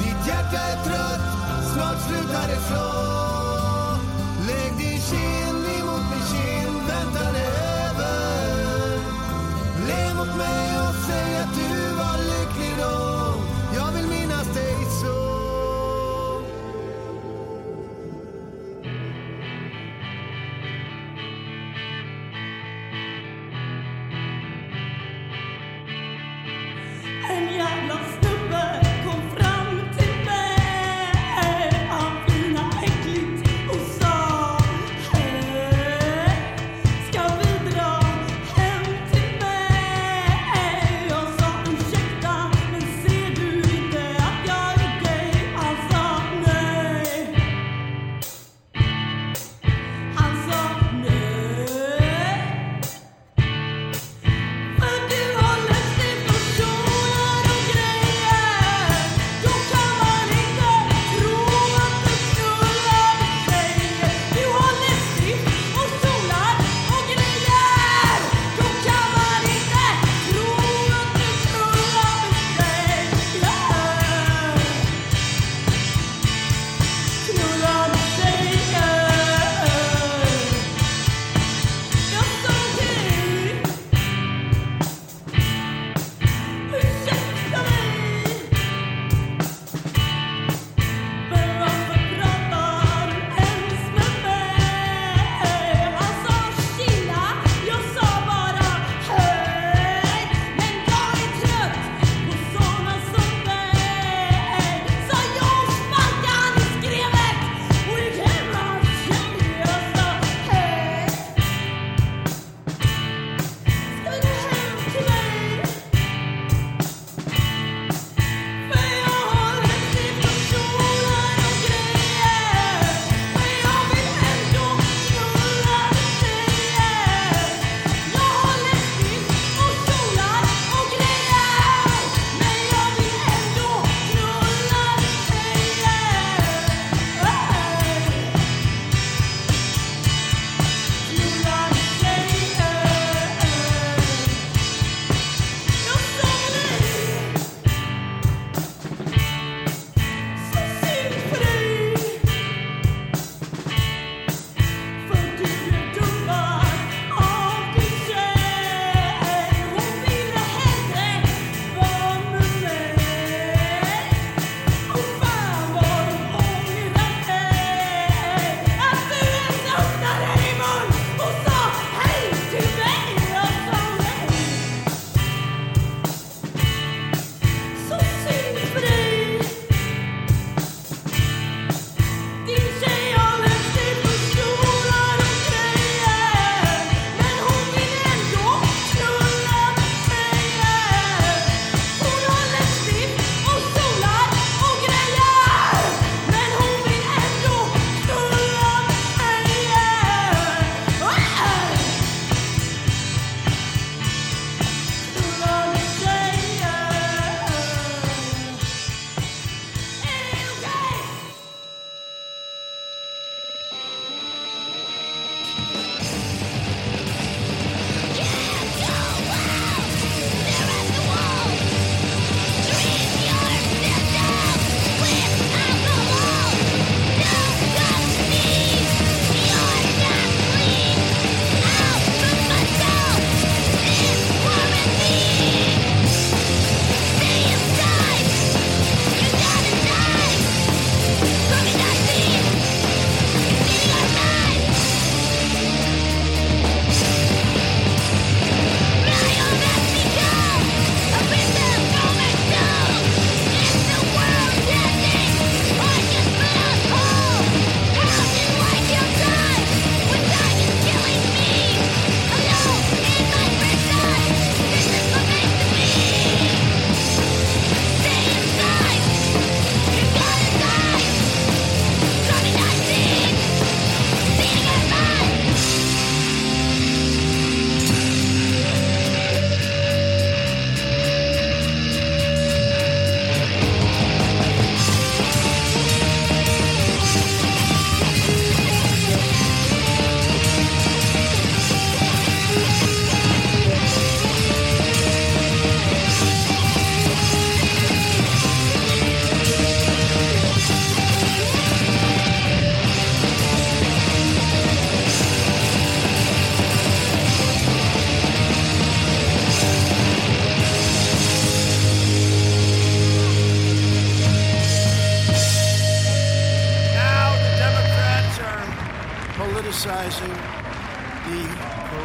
Speaker 13: Ditt hjärta är trött, snart slutar det slå Lägg din kind emot min kind, väntan är över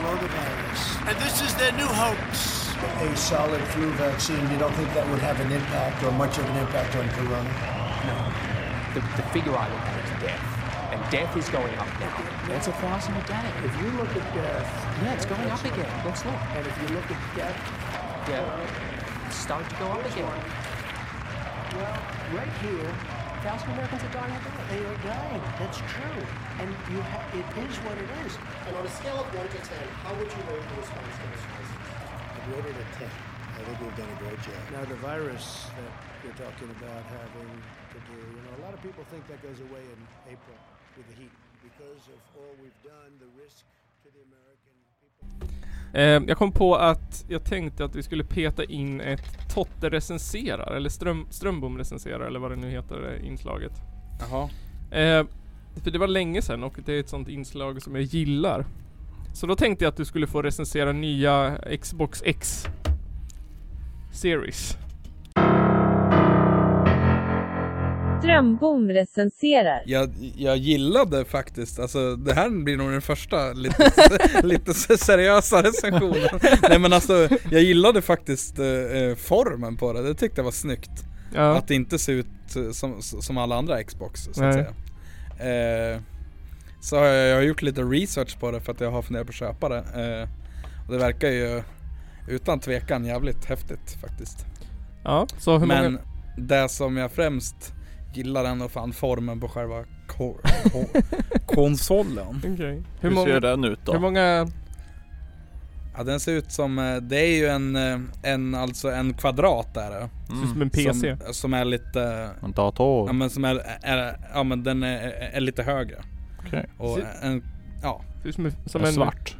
Speaker 14: logo barriers. And this is their new hoax. A solid flu vaccine, you don't think that would have an impact or much of an impact on corona? No.
Speaker 15: The, the figure I look at is death. And death is going up now. That's a thousand a day. If you look at death. Yeah, it's going up again. Let's look. And if you look at death. Yeah. It's starting to go up again. Well, right here. Thousand Americans are dying a day.
Speaker 14: They are dying, that's true. And you ha- it is what it is.
Speaker 16: And on a scale of 1 to 10, how would you rate the response to this crisis?
Speaker 14: I'd rate it a 10. I think we've done a great job. Now, the virus that you're talking about having to do, you know, a lot of people think that goes away in April with the heat. Because of all we've done, the risk to the American people.
Speaker 3: Eh, jag kom på att jag tänkte att vi skulle peta in ett Totte recenserar, eller Ström, Strömbom recenserar eller vad det nu heter, eh, inslaget.
Speaker 2: Jaha.
Speaker 3: Eh, för det var länge sedan och det är ett sånt inslag som jag gillar. Så då tänkte jag att du skulle få recensera nya Xbox X Series.
Speaker 17: Strömbom recenserar.
Speaker 2: Jag, jag gillade faktiskt, alltså det här blir nog den första lite, se- lite se- seriösa recensionen. Nej men alltså, jag gillade faktiskt eh, eh, formen på det, det tyckte jag var snyggt.
Speaker 3: Ja.
Speaker 2: Att det inte ser ut eh, som, som alla andra Xbox så att
Speaker 3: Nej.
Speaker 2: säga. Eh, så har jag, jag har gjort lite research på det för att jag har funderat på att köpa det. Eh, och det verkar ju utan tvekan jävligt häftigt faktiskt.
Speaker 3: Ja, så hur
Speaker 2: Men
Speaker 3: många-
Speaker 2: det som jag främst gillar ändå fan formen på själva ko- ko- konsolen.
Speaker 3: Okej. Hur Hur många- ser den ut då? hur många-
Speaker 2: Ja den ser ut som, eh, det är ju en, eh, en alltså en kvadrat där. eh.
Speaker 3: Ser ut som en PC.
Speaker 2: Som, som är lite...
Speaker 4: En dator.
Speaker 2: Ja men som är, är ja men den är, är lite högre.
Speaker 4: Okej.
Speaker 2: Och
Speaker 3: Ser-
Speaker 2: en, ja.
Speaker 3: Ser ut som en- som En en- svart.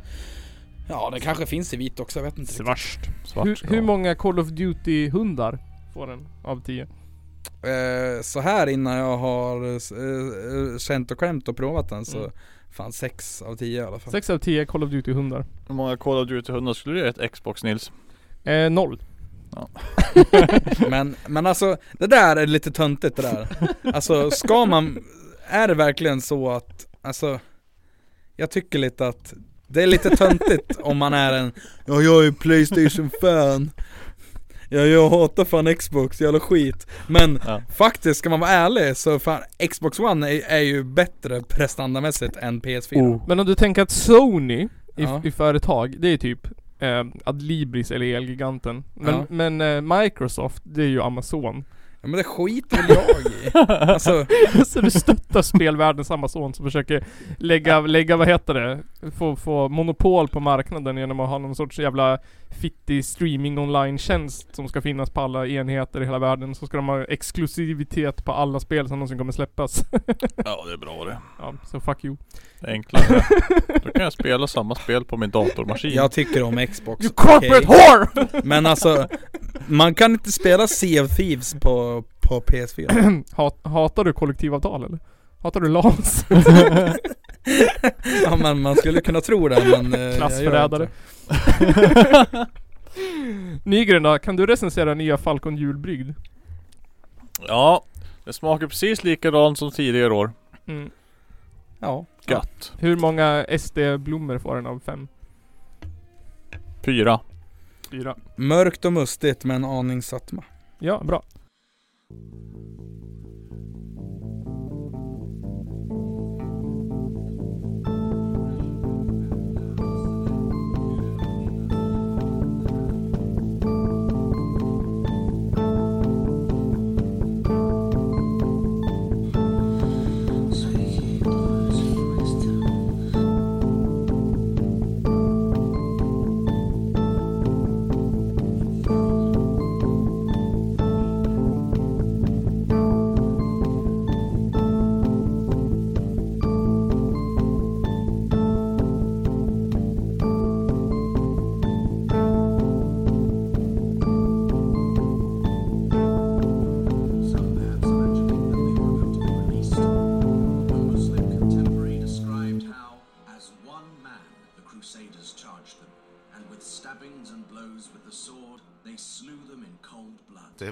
Speaker 2: Ja det kanske finns i vit också, jag vet inte riktigt.
Speaker 3: Svart. hur, hur många Call of Duty hundar får den av 10?
Speaker 2: Eh, så här innan jag har eh, eh, känt och klämt och provat den så
Speaker 3: Mm.
Speaker 2: fan 6 av 10 i alla fall.
Speaker 3: 6 av 10 Call of Duty hundar.
Speaker 4: Hur många Call of Duty hundar skulle du ge ett Xbox Nils?
Speaker 3: Eh, noll.
Speaker 2: men, men alltså det där är lite töntigt det där. Alltså ska man, är det verkligen så att, alltså jag tycker lite att det är lite töntigt om man är en, ja jag är Playstation-fan. Ja jag hatar fan Xbox, jävla skit. Men faktiskt ska man vara ärlig så fan Xbox One är, är ju bättre prestandamässigt än PS4.
Speaker 3: Men om du tänker att Sony i,
Speaker 2: Ja.
Speaker 3: i företag, det är typ eh, Adlibris eller Elgiganten. Men,
Speaker 2: Ja.
Speaker 3: men eh, Microsoft, det är ju Amazon.
Speaker 2: Ja men det skiter väl jag i. Alltså-
Speaker 3: Så du stöttar spelvärldens Amazon som försöker lägga, lägga vad heter det? Få, få monopol på marknaden genom att ha någon sorts jävla fittig streaming online-tjänst som ska finnas på alla enheter i hela världen. Så ska de ha exklusivitet på alla spel som någonsin kommer släppas.
Speaker 4: Ja det är bra det.
Speaker 3: Ja, så fuck you.
Speaker 4: Det är enklare. Då kan jag spela samma spel på min datormaskin.
Speaker 2: Jag tycker om Xbox.
Speaker 4: You
Speaker 2: okej.
Speaker 4: corporate whore!
Speaker 2: Men alltså, man kan inte spela Sea of Thieves på, på PS4.
Speaker 3: Hat, hatar du kollektivavtal eller? Hatar du LAS?
Speaker 2: ja men man skulle kunna tro det men... eh, jag gör
Speaker 3: Klassförrädare.
Speaker 2: inte det.
Speaker 3: Nygren då, kan du recensera nya Falcon julbrygd?
Speaker 4: Ja, det smakar precis likadant som tidigare år.
Speaker 3: Mm.
Speaker 2: Ja.
Speaker 4: Gött.
Speaker 3: Hur många SD-blommor får den av fem?
Speaker 4: Fyra.
Speaker 3: Fyra.
Speaker 2: Mörkt och mustigt med en aning sötma.
Speaker 3: Ja, bra.
Speaker 13: Some maps mentioning that they were meant to be released. One Muslim contemporary described how, as one man, the Crusaders charged them, and with stabbings and blows with the sword, they slew them in cold blood.
Speaker 18: Det är